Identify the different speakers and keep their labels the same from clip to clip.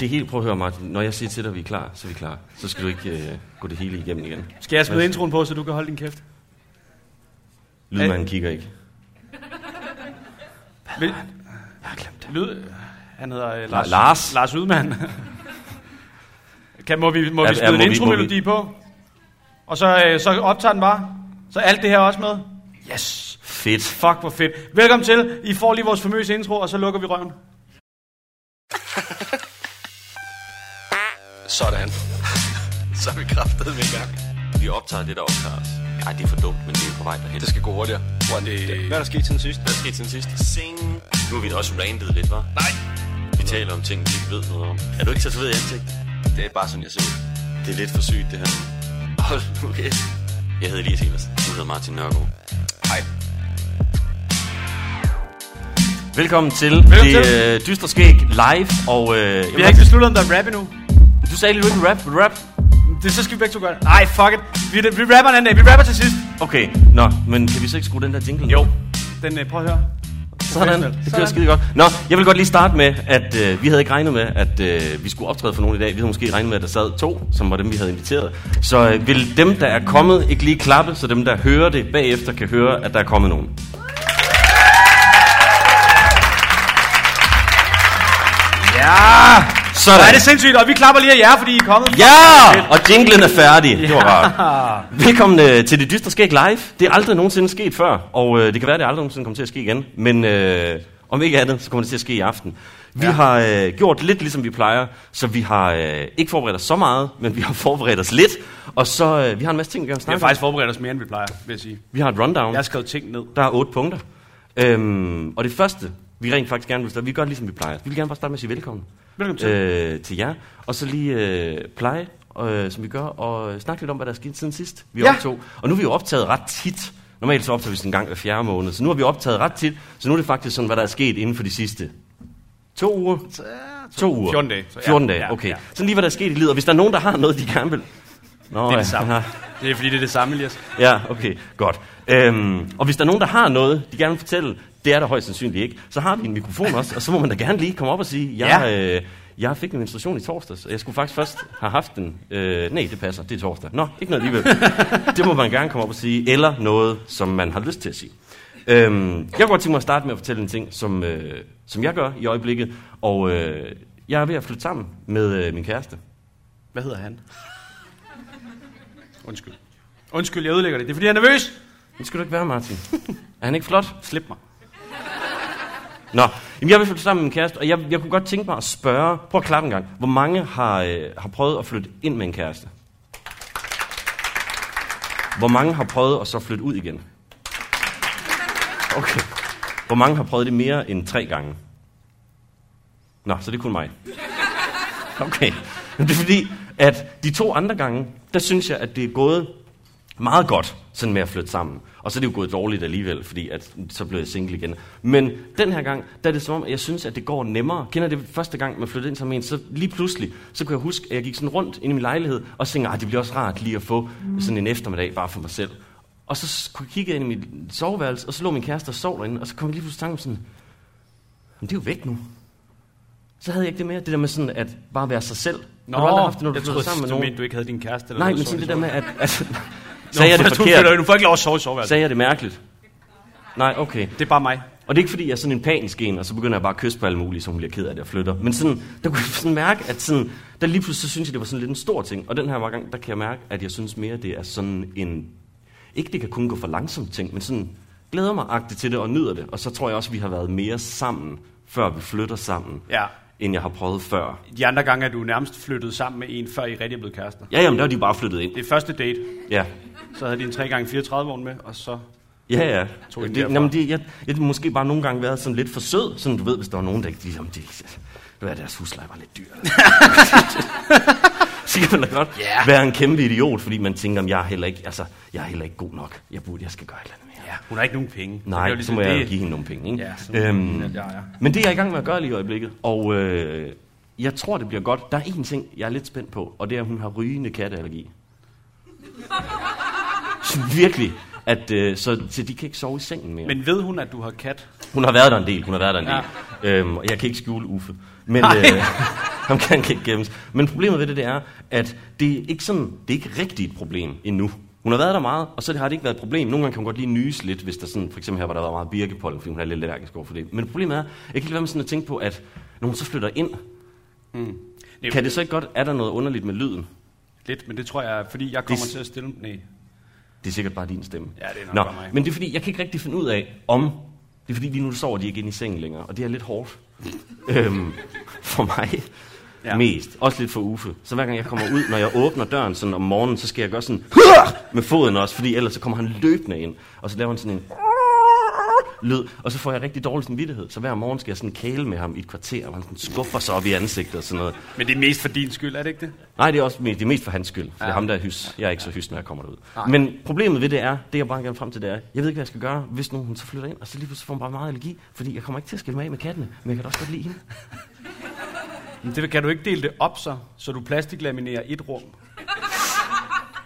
Speaker 1: det er helt, prøv at høre Martin, når jeg siger til dig, at vi er klar, så er vi klar. Så skal du ikke øh, gå det hele igennem igen.
Speaker 2: Skal jeg smide
Speaker 1: Hvad-
Speaker 2: introen på, så du kan holde din kæft?
Speaker 1: Lydmanden kigger ikke.
Speaker 2: Vil,
Speaker 1: Jeg har glemt det.
Speaker 2: lyd, han hedder uh, Lars,
Speaker 1: Lars.
Speaker 2: Lars Udmann. kan, må vi, må
Speaker 1: Ja,
Speaker 2: vi
Speaker 1: ja,
Speaker 2: smide
Speaker 1: må
Speaker 2: en
Speaker 1: vi- må
Speaker 2: intromelodi
Speaker 1: vi-
Speaker 2: på? Og så, øh, så optager den bare. Så alt det her også med. Yes.
Speaker 1: Fedt.
Speaker 2: Fuck, hvor fedt. Velkommen til. I får lige vores famøse intro, og så lukker vi røven.
Speaker 3: Sådan. Så er vi kraftet med i gang.
Speaker 1: Vi optager det, der optages. Nej, det er for dumt, men det er på vej derhen.
Speaker 3: Det skal gå hurtigere. Hvordan det... Hvad er der sket til den sidste?
Speaker 1: Hvad skete siden sidst? Sing. Nu har vi også randet lidt, var?
Speaker 3: Nej.
Speaker 1: Vi taler om ting, vi ikke ved noget om. Er du ikke så ved i ansigt?
Speaker 3: Det er bare sådan, jeg ser ud.
Speaker 1: Det er lidt for sygt, det her.
Speaker 3: Hold nu kæft.
Speaker 1: Jeg hedder Elias Evers. Du hedder Martin Nørgaard.
Speaker 3: Hej.
Speaker 1: Velkommen til
Speaker 2: Velkommen
Speaker 1: det øh, dystre skæg live. Og, øh,
Speaker 2: Vi har ikke besluttet, om der er rap endnu.
Speaker 1: du sagde lige, du ikke rap. Vil du Rap?
Speaker 2: Det, så skal vi begge to gøre det. Nej, fuck it. Vi, vi rapper den dag. Vi rapper til sidst.
Speaker 1: Okay, nå, men kan vi så ikke skrue den der jingle? ned?
Speaker 2: Den, øh, prøv at høre.
Speaker 1: Sådan, det bliver skide godt. Nå, jeg vil godt lige starte med, at øh, vi havde ikke regnet med, at øh, vi skulle optræde for nogen i dag. Vi havde måske regnet med, at der sad to, som var dem, vi havde inviteret. Så øh, vil dem, der er kommet, ikke lige klappe, så dem, der hører det bagefter, kan høre, at der er kommet nogen.
Speaker 2: Ja!
Speaker 1: Sådan.
Speaker 2: Nej, det er sindssygt, og vi klapper lige af jer, fordi I er kommet.
Speaker 1: Ja! Og jinglen er færdig. Det var rart. Velkommen øh, til Det Dystre Skæg Live. Det er aldrig nogensinde sket før, og øh, det kan være, at det aldrig nogensinde kommer til at ske igen. Men øh, om ikke andet, så kommer det til at ske i aften. Vi ja. har øh, gjort lidt, ligesom vi plejer, så vi har øh, ikke forberedt os så meget, men vi har forberedt os lidt. Og så, øh, vi har en masse ting, vi gerne vil
Speaker 2: Vi har
Speaker 1: snakke om.
Speaker 2: faktisk forberedt os mere, end vi plejer, vil jeg sige.
Speaker 1: Vi har et rundown.
Speaker 2: Jeg har skrevet ting ned.
Speaker 1: Der er otte punkter. Øhm, og det første, vi rent faktisk gerne vil starte, vi gør ligesom vi plejer. Vi vil gerne bare starte med at sige velkommen.
Speaker 2: Velkommen til.
Speaker 1: Øh, til jer. Og så lige øh, pleje, øh, som vi gør, og øh, snakke lidt om, hvad der er sket siden sidst, vi
Speaker 2: Ja.
Speaker 1: ja. optog. Og nu er vi jo optaget ret tit. Normalt så optager vi sådan en gang hver fjerde måned, så nu har vi optaget ret tit. Så nu er det faktisk sådan, hvad der er sket inden for de sidste to uger. To uger.
Speaker 2: 14 dage. Så ja,
Speaker 1: 14 dage,
Speaker 2: ja,
Speaker 1: okay.
Speaker 2: ja.
Speaker 1: Sådan lige, hvad der er sket i livet. Og hvis der er nogen, der har noget, de gerne vil... Nå,
Speaker 2: Det er det
Speaker 1: ja.
Speaker 2: samme. Det er fordi, det er det samme, Elias.
Speaker 1: Ja, okay, godt. Øhm, og hvis der er nogen, der har noget, de gerne vil fortælle, det er der højst sandsynligt ikke, så har vi en mikrofon også, og så må man da gerne lige komme op og sige, jeg, ja. øh, jeg fik min menstruation i torsdags, og jeg skulle faktisk først have haft den. Øh, nej, det passer, det er torsdag. Nå, ikke noget alligevel. det må man gerne komme op og sige, eller noget, som man har lyst til at sige. Øhm, jeg kunne godt tænke mig at starte med at fortælle en ting, som, øh, som jeg gør i øjeblikket, og øh, jeg er ved at flytte sammen med øh, min kæreste.
Speaker 2: Hvad hedder han? Undskyld. Undskyld, jeg ødelægger det. Det er fordi, jeg er nervøs.
Speaker 1: Det skal du ikke være, Martin. Er han ikke flot?
Speaker 2: Slip mig.
Speaker 1: Nå, jamen jeg vil flytte sammen med min kæreste, og jeg, jeg kunne godt tænke mig at spørge, prøv at klappe en gang, hvor mange har, øh, har prøvet at flytte ind med en kæreste? Hvor mange har prøvet at så flytte ud igen? Okay. Hvor mange har prøvet det mere end tre gange? Nå, så det er kun mig. Okay. Men det er fordi, at de to andre gange, der synes jeg, at det er gået meget godt sådan med at flytte sammen. Og så er det jo gået dårligt alligevel, fordi at, så blev jeg single igen. Men den her gang, der er det som om, at jeg synes, at det går nemmere. Kender I det første gang, man flyttede ind sammen med en, så lige pludselig, så kunne jeg huske, at jeg gik sådan rundt ind i min lejlighed, og så tænkte, at det bliver også rart lige at få sådan en eftermiddag bare for mig selv. Og så s- kunne jeg kigge ind i mit soveværelse, og så lå min kæreste og sov derinde, og så kom jeg lige pludselig i tanke om sådan, "Jamen, det er jo væk nu. Så havde jeg ikke det mere, det der med sådan at bare være sig selv. Har du aldrig haft det, når du
Speaker 2: jeg
Speaker 1: flytter
Speaker 2: troede,
Speaker 1: sammen med
Speaker 2: du
Speaker 1: nogen?
Speaker 2: mente, du ikke havde din kæreste. Eller
Speaker 1: Nej,
Speaker 2: noget,
Speaker 1: men
Speaker 2: så
Speaker 1: sådan det der
Speaker 2: så-
Speaker 1: med, at... Altså,
Speaker 2: Nå,
Speaker 1: sagde jeg det
Speaker 2: du flytter jo,
Speaker 1: forkert?
Speaker 2: Du får ikke lov at sove i soveværelset.
Speaker 1: Sagde jeg det mærkeligt? Nej, okay.
Speaker 2: Det er bare mig.
Speaker 1: Og det er ikke fordi, jeg er sådan en panisk en, og så begynder jeg bare at kysse på alle mulige, så hun bliver ked af det og flytter. Men sådan, der kunne jeg sådan mærke, at sådan, der lige pludselig så synes jeg, det var sådan lidt en stor ting. Og den her gang, der kan jeg mærke, at jeg synes mere, det er sådan en... Ikke det kan kun gå for langsomt ting, men sådan glæder mig agtigt til det og nyder det. Og så tror jeg også, vi har været mere sammen, før vi flytter sammen,
Speaker 2: Ja.
Speaker 1: end jeg har prøvet før.
Speaker 2: De andre gange er du nærmest flyttet sammen med en, før I rigtig er blevet kærester.
Speaker 1: Ja, jamen, der er de bare flyttet ind.
Speaker 2: Det er første date.
Speaker 1: Ja,
Speaker 2: Så havde de en 3x34 vogn med, og så...
Speaker 1: Ja, ja.
Speaker 2: Tog den
Speaker 1: Det,
Speaker 2: derfra.
Speaker 1: jamen, det, jeg, jeg har måske bare nogle gange været sådan lidt for sød, sådan du ved, hvis der var nogen, der ikke ligesom, de, det var deres husleje var lidt dyr. så kan man da godt yeah. være en kæmpe idiot, fordi man tænker, om jeg er heller ikke, altså, jeg er heller ikke god nok. Jeg burde, jeg skal gøre et eller andet mere.
Speaker 2: Ja, hun har ikke nogen penge. det er
Speaker 1: Nej,
Speaker 2: jo
Speaker 1: så, så
Speaker 2: ligesom
Speaker 1: må jeg jo
Speaker 2: det.
Speaker 1: give hende nogle penge. Ikke?
Speaker 2: Ja, sådan-
Speaker 1: øhm,
Speaker 2: ja, ja.
Speaker 1: Men det er jeg i gang med at gøre lige i øjeblikket, og øh, jeg tror, det bliver godt. Der er én ting, jeg er lidt spændt på, og det er, at hun har rygende katteallergi. Så Virkelig. At, øh, så, så de kan ikke sove i sengen mere. Men,
Speaker 2: Men ved hun, at du har kat?
Speaker 1: hun har været der en del, hun har været der en del. Øhm, og jeg kan ikke skjule Uffe. Men,
Speaker 2: Nej.
Speaker 1: øh, Ham kan han ikke gemmes. Men problemet ved det, det er, at det er ikke sådan, det er ikke rigtigt et problem endnu. Hun har været der meget, og så har det ikke været et problem. Nogle gange kan hun godt lige nyse lidt, hvis der sådan, for eksempel her, hvor der var meget birkepollen, fordi hun er lidt allergisk over for det. Men problemet er, jeg kan ikke lade være med sådan at tænke på, at når hun så flytter ind,
Speaker 2: Det-
Speaker 1: kan det så ikke godt, er der noget underligt med lyden?
Speaker 2: Lidt, men det tror jeg, fordi jeg kommer
Speaker 1: Det-
Speaker 2: til at stille... Nej.
Speaker 1: Det er sikkert bare din stemme.
Speaker 2: Ja, det er nok
Speaker 1: Nå,
Speaker 2: bare mig.
Speaker 1: Men det er fordi, jeg kan ikke rigtig finde ud af, om... Det er fordi, lige nu sover de ikke inde i sengen længere, og det er lidt hårdt. øhm, for mig. Ja.
Speaker 2: Ja.
Speaker 1: Mest. Også lidt for Uffe. Så hver gang jeg kommer ud, når jeg åbner døren sådan om morgenen, så skal jeg gøre sådan med foden også, fordi ellers så kommer han løbende ind, og så laver han sådan en lyd, og så får jeg rigtig dårlig samvittighed. Så hver morgen skal jeg sådan kæle med ham i et kvarter, og han sådan skuffer sig op i ansigtet og sådan noget.
Speaker 2: Men det er mest for din skyld, er det ikke det?
Speaker 1: Nej, det er, også, me- det er mest for hans skyld. For ja. det er
Speaker 2: Ja.
Speaker 1: ham, der er hys. Jeg er ikke så hys, når jeg kommer derud. Nej. Men problemet ved det er, det jeg bare gerne frem til, det er, jeg ved ikke, hvad jeg skal gøre, hvis nu hun så flytter ind, og så lige pludselig får hun bare meget allergi, fordi jeg kommer ikke til at skille mig af med kattene, men jeg kan da også godt lide hende.
Speaker 2: Men det kan du ikke dele det op så, så du plastiklaminerer et rum,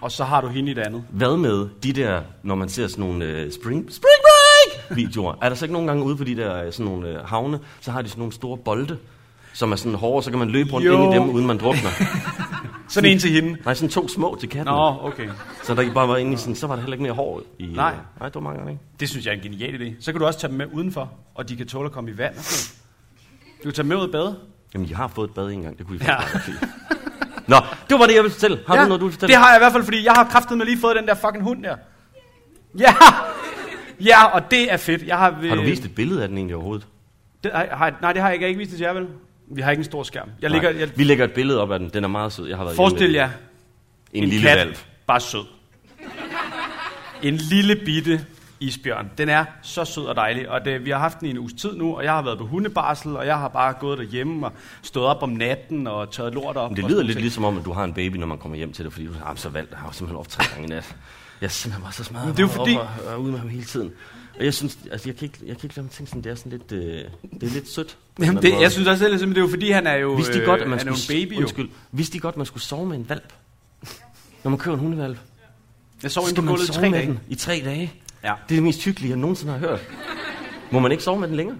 Speaker 2: og så har du hende i det andet.
Speaker 1: Hvad med de der, når man ser sådan nogle øh, spring, spring break videoer? Er der så ikke nogen gange ude på de der øh, sådan nogle øh, havne, så har de sådan nogle store bolde, som er sådan hårde, og så kan man løbe rundt
Speaker 2: Jo.
Speaker 1: ind i dem, uden man drukner.
Speaker 2: Sådan en til hende.
Speaker 1: Nej, sådan to små til katten.
Speaker 2: Nå, okay.
Speaker 1: Så der ikke bare var inde i sådan, så var der heller ikke mere hår i... øh,
Speaker 2: Nej.
Speaker 1: Nej, det var mange gange, ikke?
Speaker 2: Det synes jeg er en genial idé. Så kan du også tage dem med udenfor, og de kan tåle at komme i vand. og sådan noget. Du kan tage dem med ud og bade.
Speaker 1: Jamen, jeg har fået et bad en gang. Det kunne I
Speaker 2: Ja.
Speaker 1: faktisk ja. Nå, det var det, jeg ville fortælle. Har ja, du noget, du vil fortælle?
Speaker 2: Det har jeg i hvert fald, fordi jeg har kraftet med lige fået den der fucking hund der. Ja! Ja, og det er fedt. Jeg har, øh,
Speaker 1: har du vist et billede af den egentlig overhovedet?
Speaker 2: Det, har, har, nej, det har jeg ikke. Jeg har ikke vist det til jer, vel? Vi har ikke en stor skærm. Jeg ligger,
Speaker 1: Nej.
Speaker 2: jeg,
Speaker 1: Vi lægger et billede op af den. Den er meget sød. Jeg har været
Speaker 2: forestil
Speaker 1: hjemme ved
Speaker 2: jer,
Speaker 1: den. En, en lille
Speaker 2: kat,
Speaker 1: valp.
Speaker 2: bare sød. En lille bitte isbjørn. Den er så sød og dejlig, og det, vi har haft den i en uges tid nu, og jeg har været på hundebarsel, og jeg har bare gået derhjemme og stået op om natten og tørret lort op.
Speaker 1: Men det
Speaker 2: og
Speaker 1: lyder
Speaker 2: sådan
Speaker 1: lidt
Speaker 2: ting.
Speaker 1: ligesom om, at du har en baby, når man kommer hjem til dig, fordi du har så valgt. Jeg har jo simpelthen op tre gange i nat. Jeg er simpelthen bare så smadret.
Speaker 2: det er jo
Speaker 1: op
Speaker 2: fordi-
Speaker 1: Og, og, ude med ham hele tiden. Og jeg synes, altså, jeg kan ikke, jeg kan ikke lade mig tænke sådan, det er sådan lidt, øh, det er lidt sødt. på en eller
Speaker 2: Jamen,
Speaker 1: anden
Speaker 2: det,
Speaker 1: måde.
Speaker 2: jeg synes også, det er, men det er jo fordi, han er jo,
Speaker 1: Vidste de
Speaker 2: øh,
Speaker 1: godt, at man
Speaker 2: han er jo en
Speaker 1: skulle,
Speaker 2: baby. Jo.
Speaker 1: undskyld, vidste de godt, at man skulle sove med en valp? Når man køber en hundevalp,
Speaker 2: Jeg sov inde
Speaker 1: skal
Speaker 2: på
Speaker 1: man
Speaker 2: gulvet i
Speaker 1: sove
Speaker 2: tre
Speaker 1: med
Speaker 2: dage.
Speaker 1: den i tre dage.
Speaker 2: Ja,
Speaker 1: Det er det mest hyggelige, jeg nogensinde har hørt. Må man ikke sove med den længere?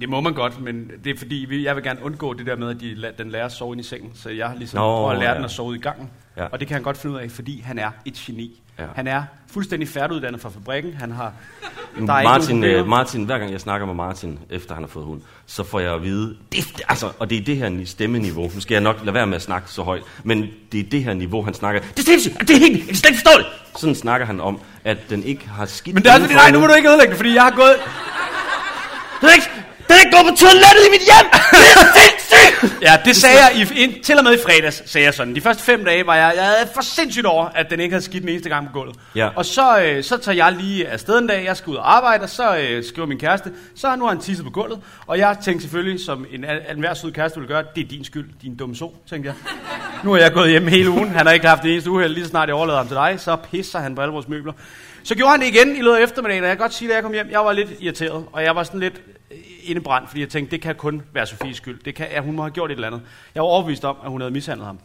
Speaker 2: det må man godt, men det er fordi, vi- jeg vil gerne undgå det der med, at de, la- den lærer at sove ind i sengen. Så jeg har ligesom
Speaker 1: Nå,
Speaker 2: Nå, prøvet at lære
Speaker 1: ja.
Speaker 2: ja. den at sove i gangen.
Speaker 1: Ja.
Speaker 2: Ja. Og det kan han godt finde ud af, fordi han er et geni.
Speaker 1: Ja.
Speaker 2: Ja. Han er fuldstændig færdiguddannet fra fabrikken. Han har...
Speaker 1: Martin,
Speaker 2: problemer.
Speaker 1: øh, Martin, hver gang jeg snakker med Martin, efter han har fået hund, så får jeg at vide, det, altså, og det er det her ni- stemmeniveau. Nu skal jeg nok lade være med at snakke så højt, men det er det her niveau, han snakker. Det er sindssygt! Det er helt, jeg kan slet ikke forstå det! Sådan snakker han om, at den ikke har skidt.
Speaker 2: Men det er også fordi, nej, nu må du ikke ødelægge det, fordi jeg har gået...
Speaker 1: Den er ikke, den er ikke gået på toilettet i mit hjem! Det er sindssygt!
Speaker 2: Ja, det sagde jeg i, ind, til og med i fredags, sagde jeg sådan. De første fem dage var jeg, jeg havde for sindssygt over, at den ikke havde skidt den eneste gang på gulvet.
Speaker 1: Ja.
Speaker 2: Og så, øh, så tager jeg lige afsted en dag, jeg skal ud og arbejde, og så øh, skriver min kæreste, så har nu har han tisset på gulvet. Og jeg tænkte selvfølgelig, som en al- enhver sød kæreste ville gøre, det er din skyld, din dumme so, tænkte jeg. Nu er jeg gået hjem hele ugen, han har ikke haft det eneste uheld, lige så snart jeg overlader ham til dig, så pisser han på alle vores møbler. Så gjorde han det igen i løbet af eftermiddagen, og jeg kan godt sige, at jeg kom hjem, jeg var lidt irriteret, og jeg var sådan lidt øh, indebrændt, fordi jeg tænkte, det kan kun være Sofies skyld. Det kan, at hun må have gjort et eller andet. Jeg var overbevist om, at hun havde mishandlet ham.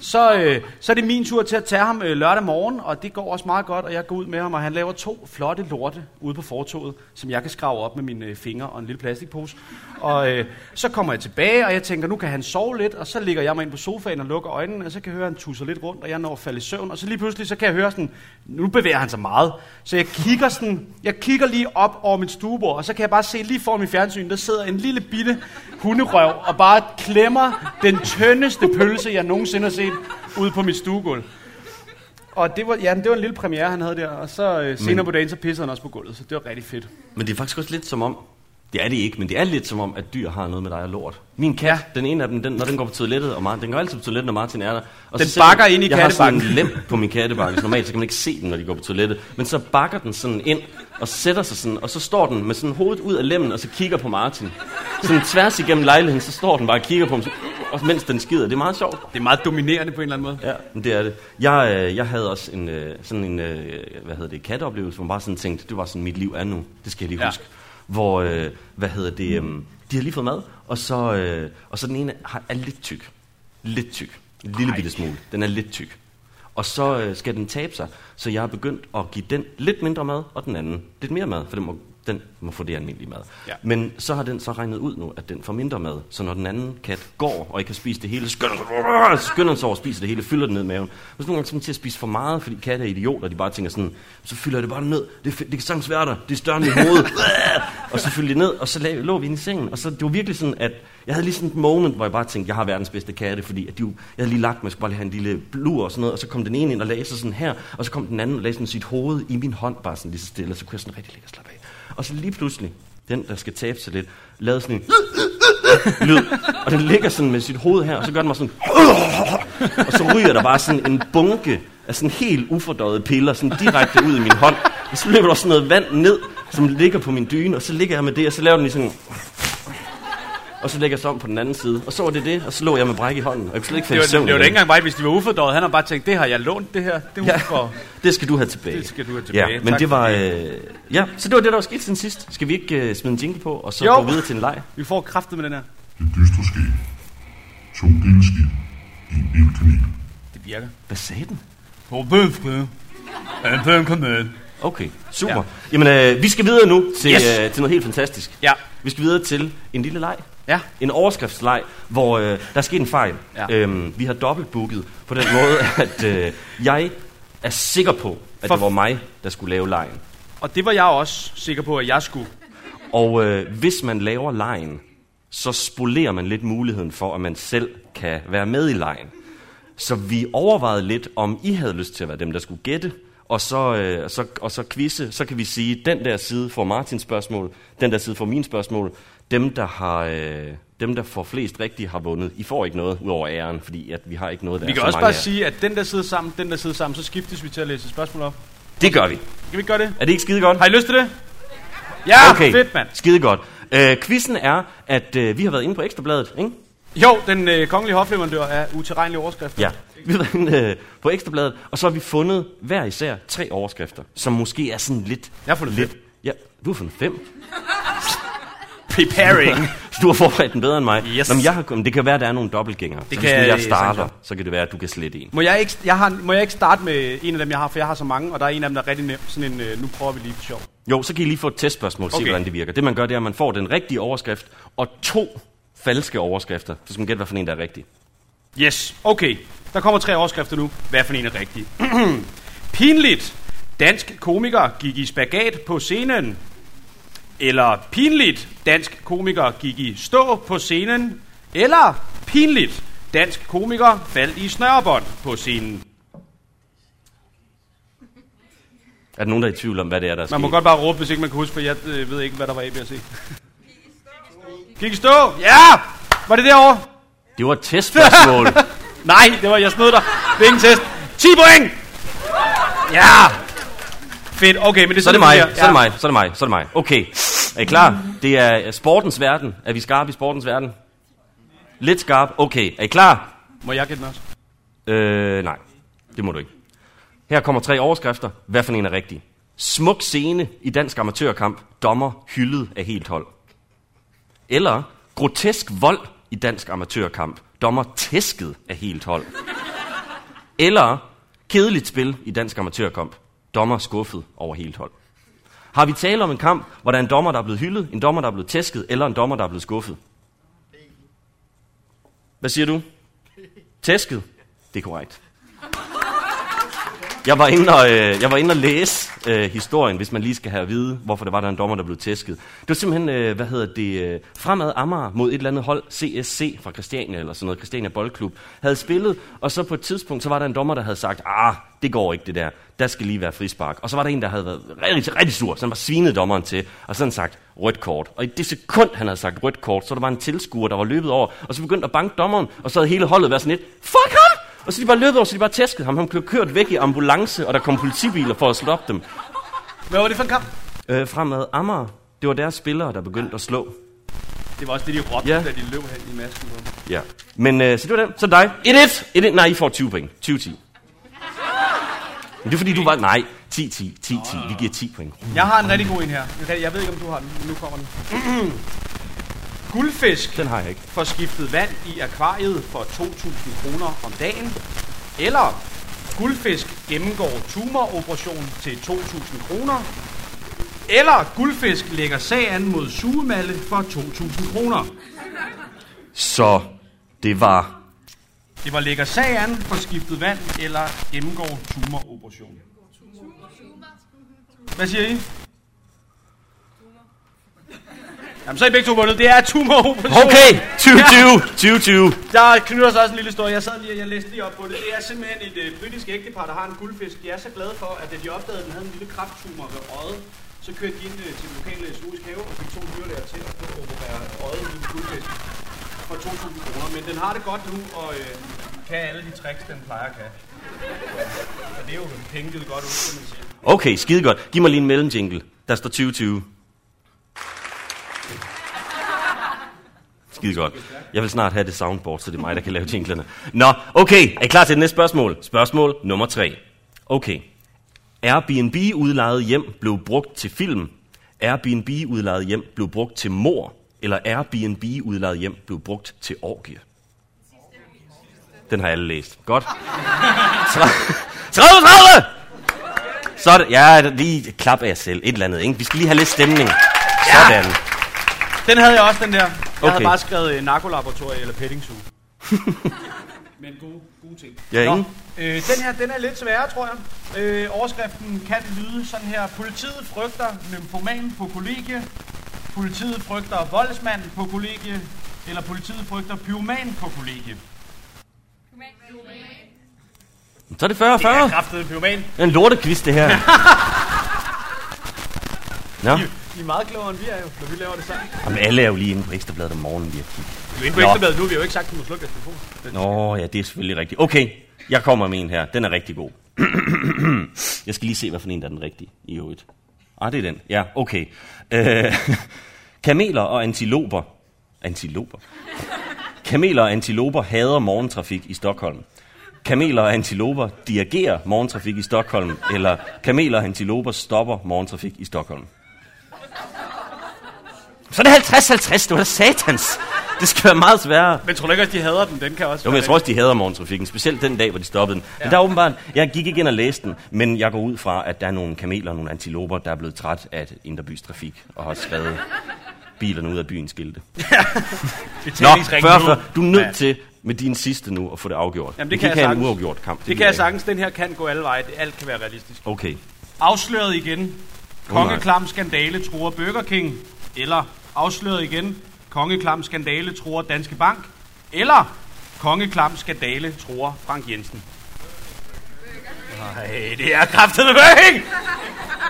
Speaker 2: Så, øh, så er det min tur til at tage ham øh, lørdag morgen, og det går også meget godt, og jeg går ud med ham, og han laver to flotte lorte ude på fortoget, som jeg kan skrave op med mine øh, fingre og en lille plastikpose. Og øh, så kommer jeg tilbage, og jeg tænker, nu kan han sove lidt, og så ligger jeg mig ind på sofaen og lukker øjnene, og så kan jeg høre, at han tusser lidt rundt, og jeg når at falde i søvn, og så lige pludselig, så kan jeg høre sådan, nu bevæger han sig meget, så jeg kigger sådan, jeg kigger lige op over mit stuebord, og så kan jeg bare se lige foran min fjernsyn, der sidder en lille bitte hunderøv og bare klemmer den tyndeste pølse, jeg nogensinde har set ude på mit stuegulv. Og det var, ja, det var en lille premiere, han havde der, og så øh, senere på dagen, så pissede han også på gulvet, så det var rigtig fedt.
Speaker 1: Men det er faktisk også lidt som om, det er det ikke, men det er lidt som om, at dyr har noget med dig og lort. Min kat, ja. den ene af dem, den, når den går på toilettet, og Martin, den går altid på toilettet, når Martin er der. Og
Speaker 2: Den
Speaker 1: så selvom-
Speaker 2: bakker ind i
Speaker 1: Jeg har sådan en lem
Speaker 2: kattebakken.
Speaker 1: på min kattebakke, så normalt så kan man ikke se den, når de går på toilettet. Men så bakker den sådan ind, og sætter sig sådan, og så står den med sådan hovedet ud af lemmen, og så kigger på Martin. Sådan tværs igennem lejligheden, så står den bare og kigger på ham, sådan, og mens den skider. Det er meget sjovt.
Speaker 2: Det er meget dominerende på en eller anden måde.
Speaker 1: Ja, men det er det. Jeg, øh, jeg havde også en, øh, sådan en, øh, hvad hedder det, katteoplevelse, hvor man bare sådan tænkte, det var sådan, mit liv er nu. Det skal jeg lige
Speaker 2: Ja.
Speaker 1: huske. Hvor, øh, hvad hedder det, øh, de har lige fået mad, og så, øh, og så den ene har, er lidt tyk. Lidt tyk. En lille bitte smule. Den er lidt tyk. Og så øh, skal den tabe sig, så jeg er begyndt at give den lidt mindre mad, og den anden lidt mere mad, for den må den må få det almindelige mad.
Speaker 2: Ja.
Speaker 1: Men så har den så regnet ud nu, at den får mindre mad. Så når den anden kat går og ikke kan spise det hele, skynder den sig- skynder den sig over og spiser det hele, fylder den ned i maven. Men så nogle gange kommer til at spise for meget, fordi katte er idioter, de bare tænker sådan, så fylder jeg det bare ned, det, er fe- det kan sagtens være der, det er større end mit hoved. og så fyldte de ned, og så lag, lå vi inde i sengen. Og så det var virkelig sådan, at jeg havde lige sådan et moment, hvor jeg bare tænkte, jeg har verdens bedste katte, fordi at de, jo- jeg havde lige lagt mig, jeg skulle bare lige have en lille blur og sådan noget, og så kom den ene ind og lagde sig sådan her, og så kom den anden og lagde sådan sit hoved i min hånd, bare sådan lige så stille, og så kunne jeg sådan rigtig ligge og slappe af. Og så lige pludselig, den der skal tabe sig lidt, lavede sådan en lyd, og den ligger sådan med sit hoved her, og så gør den mig sådan, og så ryger der bare sådan en bunke af sådan helt ufordøjet piller, sådan direkte ud i min hånd, og så løber der sådan noget vand ned, som ligger på min dyne, og så ligger jeg med det, og så laver den lige sådan, og så lægger jeg så om på den anden side, og så var det det, og så lå jeg med bræk i hånden, og jeg kunne slet ikke
Speaker 2: Det
Speaker 1: finde
Speaker 2: var, det var
Speaker 1: søvn.
Speaker 2: da ikke
Speaker 1: igen.
Speaker 2: engang mig, hvis de var ufordøjet. Han har bare tænkt, det har jeg lånt det her. Det er
Speaker 1: Ja,
Speaker 2: ja.
Speaker 1: det skal du have tilbage.
Speaker 2: Det skal du have tilbage.
Speaker 1: Ja, men
Speaker 2: Tak
Speaker 1: det
Speaker 2: for
Speaker 1: var, øh,
Speaker 2: det.
Speaker 1: ja, så det var det, der var sket siden sidst. Skal vi ikke øh, smide en jingle på, og så
Speaker 2: Jo.
Speaker 1: jo. gå videre til en leg?
Speaker 2: Vi får kraftet med den her.
Speaker 4: Den dystre ske. To delskin. En elkanin.
Speaker 2: Det virker.
Speaker 1: Hvad sagde den?
Speaker 2: På bødskede. En bøn kom med.
Speaker 1: Okay, super.
Speaker 2: Ja.
Speaker 1: Ja. Jamen, øh, vi skal videre nu til,
Speaker 2: Yes.
Speaker 1: yes. øh, til noget helt fantastisk.
Speaker 2: Ja.
Speaker 1: Vi skal videre til en lille leg.
Speaker 2: Ja.
Speaker 1: En overskriftsleg, hvor øh, der er sket en fejl.
Speaker 2: Ja.
Speaker 1: Øhm, vi har dobbeltbooket på den måde, at øh, jeg er sikker på, at
Speaker 2: For-
Speaker 1: det var mig, der skulle lave lejen.
Speaker 2: Og det var jeg også sikker på, at jeg skulle.
Speaker 1: Og øh, hvis man laver lejen, så spolerer man lidt muligheden for, at man selv kan være med i lejen. Så vi overvejede lidt, om I havde lyst til at være dem, der skulle gætte, og så, øh, så, og så quizze. Så kan vi sige, den der side får Martins spørgsmål, den der side får mine spørgsmål. Dem, der, har, øh, dem, der får flest rigtige, har vundet. I får ikke noget ud over æren, fordi at vi har ikke noget, der
Speaker 2: Vi
Speaker 1: er
Speaker 2: kan
Speaker 1: så
Speaker 2: også
Speaker 1: mange
Speaker 2: bare
Speaker 1: af jer.
Speaker 2: sige, at den der sidder sammen, den der sidder sammen, så skiftes vi til at læse et spørgsmål op.
Speaker 1: Det gør vi.
Speaker 2: Kan vi ikke gøre det?
Speaker 1: Er det ikke skide godt?
Speaker 2: Har I lyst til det? Ja,
Speaker 1: okay.
Speaker 2: okay. fedt mand.
Speaker 1: Skide godt. Øh, quizzen er, at øh, vi har været inde på Ekstrabladet, ikke?
Speaker 2: Jo, den øh, kongelige hofleverandør er utilregnelig overskrift.
Speaker 1: Ja, vi har været inde, øh, på Ekstrabladet, og så har vi fundet hver især tre overskrifter, som måske er sådan lidt...
Speaker 2: Jeg har fundet
Speaker 1: lidt,
Speaker 2: fem.
Speaker 1: Ja, du har fundet fem.
Speaker 2: Preparing.
Speaker 1: Så du har forberedt den bedre end mig.
Speaker 2: Yes.
Speaker 1: Nå, men jeg har, men det kan være, at der er nogle dobbeltgængere. Det så hvis
Speaker 2: kan-
Speaker 1: nu jeg
Speaker 2: sagtens
Speaker 1: starter,
Speaker 2: være.
Speaker 1: så kan det være, at du kan slette en.
Speaker 2: må, jeg ikke, jeg har, må jeg ikke starte med en af dem, jeg har, for jeg har så mange, og der er en af dem, der er rigtig nem. Sådan en, øh, nu prøver vi lige for sjov.
Speaker 1: Jo, så kan I lige få et testspørgsmål og se,
Speaker 2: Okay.
Speaker 1: hvordan det virker. Det man gør, det er, at man får den rigtige overskrift og to falske overskrifter. Så skal man gætte, hvad for en, der er rigtig.
Speaker 2: Yes, okay. Der kommer tre overskrifter nu. Hvad for en er rigtig? pinligt. Dansk komiker gik i spagat på scenen. Eller pinligt. Dansk komiker gik i stå på scenen. Eller pinligt. Dansk komiker faldt i snørebånd på scenen.
Speaker 1: Er der nogen, der er i tvivl om, hvad det er, der er
Speaker 2: Man må
Speaker 1: sket?
Speaker 2: godt bare råbe, hvis ikke man kan huske, for jeg øh, ved ikke, hvad der var A, B og C. Gik i stå. Ja! Var det derovre?
Speaker 1: Det var et testspørgsmål.
Speaker 2: Nej, det var, jeg snød dig. Det er ingen test. 10 point! Ja! Fedt, okay, men det
Speaker 1: Så er det mig,
Speaker 2: sådan,
Speaker 1: så er det mig, så er det mig, så er det mig. Okay, er I klar? Det er sportens verden. Er vi skarpe i sportens verden? Lidt skarp. Okay, er I klar?
Speaker 2: Ja. Må jeg gætte den også?
Speaker 1: Øh, nej, det må du ikke. Her kommer tre overskrifter. Hvad for en er rigtig? Smuk scene i dansk amatørkamp. Dommer hyldet af helt hold. Eller grotesk vold i dansk amatørkamp. Dommer tæsket af helt hold. Eller kedeligt spil i dansk amatørkamp. Dommer skuffet over helt hold. Har vi tale om en kamp, hvor der er en dommer, der er blevet hyldet, en dommer, der er blevet tæsket, eller en dommer, der er blevet skuffet? Hvad siger du? Tæsket? Det er korrekt. Jeg var inde og, øh, jeg var inde og læse øh, historien, hvis man lige skal have at vide, hvorfor det var, der er en dommer, der blev tæsket. Det var simpelthen, øh, hvad hedder det, øh, fremad Amager mod et eller andet hold, CSC fra Christiania, eller sådan noget, Christiania Boldklub, havde spillet, og så på et tidspunkt, så var der en dommer, der havde sagt, ah, det går ikke det der, der skal lige være frispark. Og så var der en, der havde været rigtig, rigtig sur, så han var svinet dommeren til, og sådan sagt, rødt kort. Og i det sekund, han havde sagt rødt kort, så var der var en tilskuer, der var løbet over, og så begyndte at banke dommeren, og så havde hele holdet været sådan lidt, fuck ham! Og så de bare løbet over, så de bare tæskede ham. Han blev kørt væk i ambulance, og der kom politibiler for at stoppe dem.
Speaker 2: Hvad var det for en kamp?
Speaker 1: Øh, fremad Amager, det var deres spillere, der begyndte at slå.
Speaker 2: Det var også det, de råbte, ja.
Speaker 1: Ja.
Speaker 2: da de løb hen i masken. på ham.
Speaker 1: Ja. Men øh, så det var den. Så dig. 1-1. 1-1. Nej, I får 20 point. 20-10. Men det er fordi, du var... Nej, 10-10. 10-10. Vi giver 10 point.
Speaker 2: Jeg har en rigtig god en her. En rigtig- Jeg ved ikke, om du har den, men nu kommer den. Guldfisk
Speaker 1: Den har jeg ikke.
Speaker 2: får skiftet vand i akvariet for 2.000 kroner om dagen. Eller guldfisk gennemgår tumoroperation til 2.000 kroner. Eller guldfisk lægger sag an mod sugemalle for 2.000 kroner.
Speaker 1: Så det var...
Speaker 2: Det var lægger sag an for skiftet vand eller gennemgår tumoroperationen. Hvad siger I? Jamen, så er I begge to vundet. Det er tumoroperationen.
Speaker 1: Okay, 2020, 2020.
Speaker 2: Der knytter sig også en lille historie. Jeg sad lige og jeg læste lige op på det. Det er simpelthen et øh, britisk ægtepar, der har en guldfisk. De er så glade for, at da de opdagede, at den havde en lille krafttumor ved øjet, så kørte de ind øh, til den lokale zoologisk have og fik to dyrlæger til at prøve at operere øjet i en guldfisk for 2.000 kroner. Men den har det godt nu, og øh, kan alle de tricks, den plejer at kan. Og det er jo penge givet godt ud, kan man sige.
Speaker 1: Okay, skide godt. Giv mig lige en mellemjingle. Der står 2020. Skide godt. Jeg vil snart have det soundboard, så det er mig, der kan lave jinglerne. Nå, okay. Er I klar til det næste spørgsmål? Spørgsmål nummer 3. Okay. Airbnb-udlejet hjem blev brugt til film. Airbnb-udlejet hjem blev brugt til mor. Eller Airbnb-udlejet hjem blev brugt til orgie. Den har alle læst. Godt. 30, 30! Så er det, ja, lige klap af jer selv. Et eller andet, ikke? Vi skal lige have lidt stemning. Sådan.
Speaker 2: Den havde jeg også, den der. Jeg okay. havde
Speaker 1: Okay.
Speaker 2: bare skrevet øh, narkolaboratorie eller petting zoo. Men gode, gode ting.
Speaker 1: Ja,
Speaker 2: Nå,
Speaker 1: ikke?
Speaker 2: øh, den her, den er lidt sværere, tror jeg. Øh, overskriften kan lyde sådan her. Politiet frygter nymphoman på kollegie. Politiet frygter voldsmand på kollegie. Eller politiet frygter pyroman på kollegie.
Speaker 1: Så er det 40 40.
Speaker 2: Det er
Speaker 1: Det
Speaker 2: kraftedet pyroman.
Speaker 1: er en lortekvist, det her. Nå,
Speaker 2: I, I er meget klogere, end vi er jo, når vi laver det sammen.
Speaker 1: Jamen, alle er jo lige inde på Ekstrabladet om morgenen, vi har kigget.
Speaker 2: Vi er jo inde på
Speaker 1: Nå.
Speaker 2: Ekstrabladet nu, vi har jo ikke sagt, at du må slukke deres telefon. Den-
Speaker 1: Nå, ja, det er selvfølgelig rigtigt. Okay, jeg kommer med en her. Den er rigtig god. jeg skal lige se, hvad for en, der er den rigtige i øvrigt. Ah, det er den. Ja, okay. Øh, kameler og antiloper. Antiloper? Kameler og antiloper hader morgentrafik i Stockholm. Kameler og antiloper dirigerer morgentrafik i Stockholm, eller kameler og antiloper stopper morgentrafik i Stockholm. Så er det 50-50, det var da satans. Det skal være meget sværere.
Speaker 2: Men tror du ikke også, de hader den? Den kan også
Speaker 1: Jo, men
Speaker 2: være
Speaker 1: jeg tror også, de hader morgentrafikken, specielt den dag, hvor de stoppede den. Ja. Men der er åbenbart, jeg gik ikke ind og læste den, men jeg går ud fra, at der er nogle kameler og nogle antiloper, der er blevet træt af Inderbys trafik og har skrevet bilerne ud af byens skilte. Nå,
Speaker 2: betalingsringen nu.
Speaker 1: 40, du er nødt
Speaker 2: Ja.
Speaker 1: til med din sidste nu at få det afgjort.
Speaker 2: Jamen, det
Speaker 1: Vi
Speaker 2: kan
Speaker 1: ikke
Speaker 2: jeg
Speaker 1: have en
Speaker 2: sagtens.
Speaker 1: uafgjort kamp.
Speaker 2: Det
Speaker 1: ved
Speaker 2: kan jeg sagtens. Den her kan gå alle veje. Det- Alt kan være realistisk.
Speaker 1: ikke. Okay.
Speaker 2: Afsløret igen.
Speaker 1: nej.
Speaker 2: Kongeklam skandale tror Burger King. Eller afsløret igen. Kongeklam skandale tror Danske Bank. Eller kongeklam skandale tror Frank Jensen. Nej, det er kraftet med King!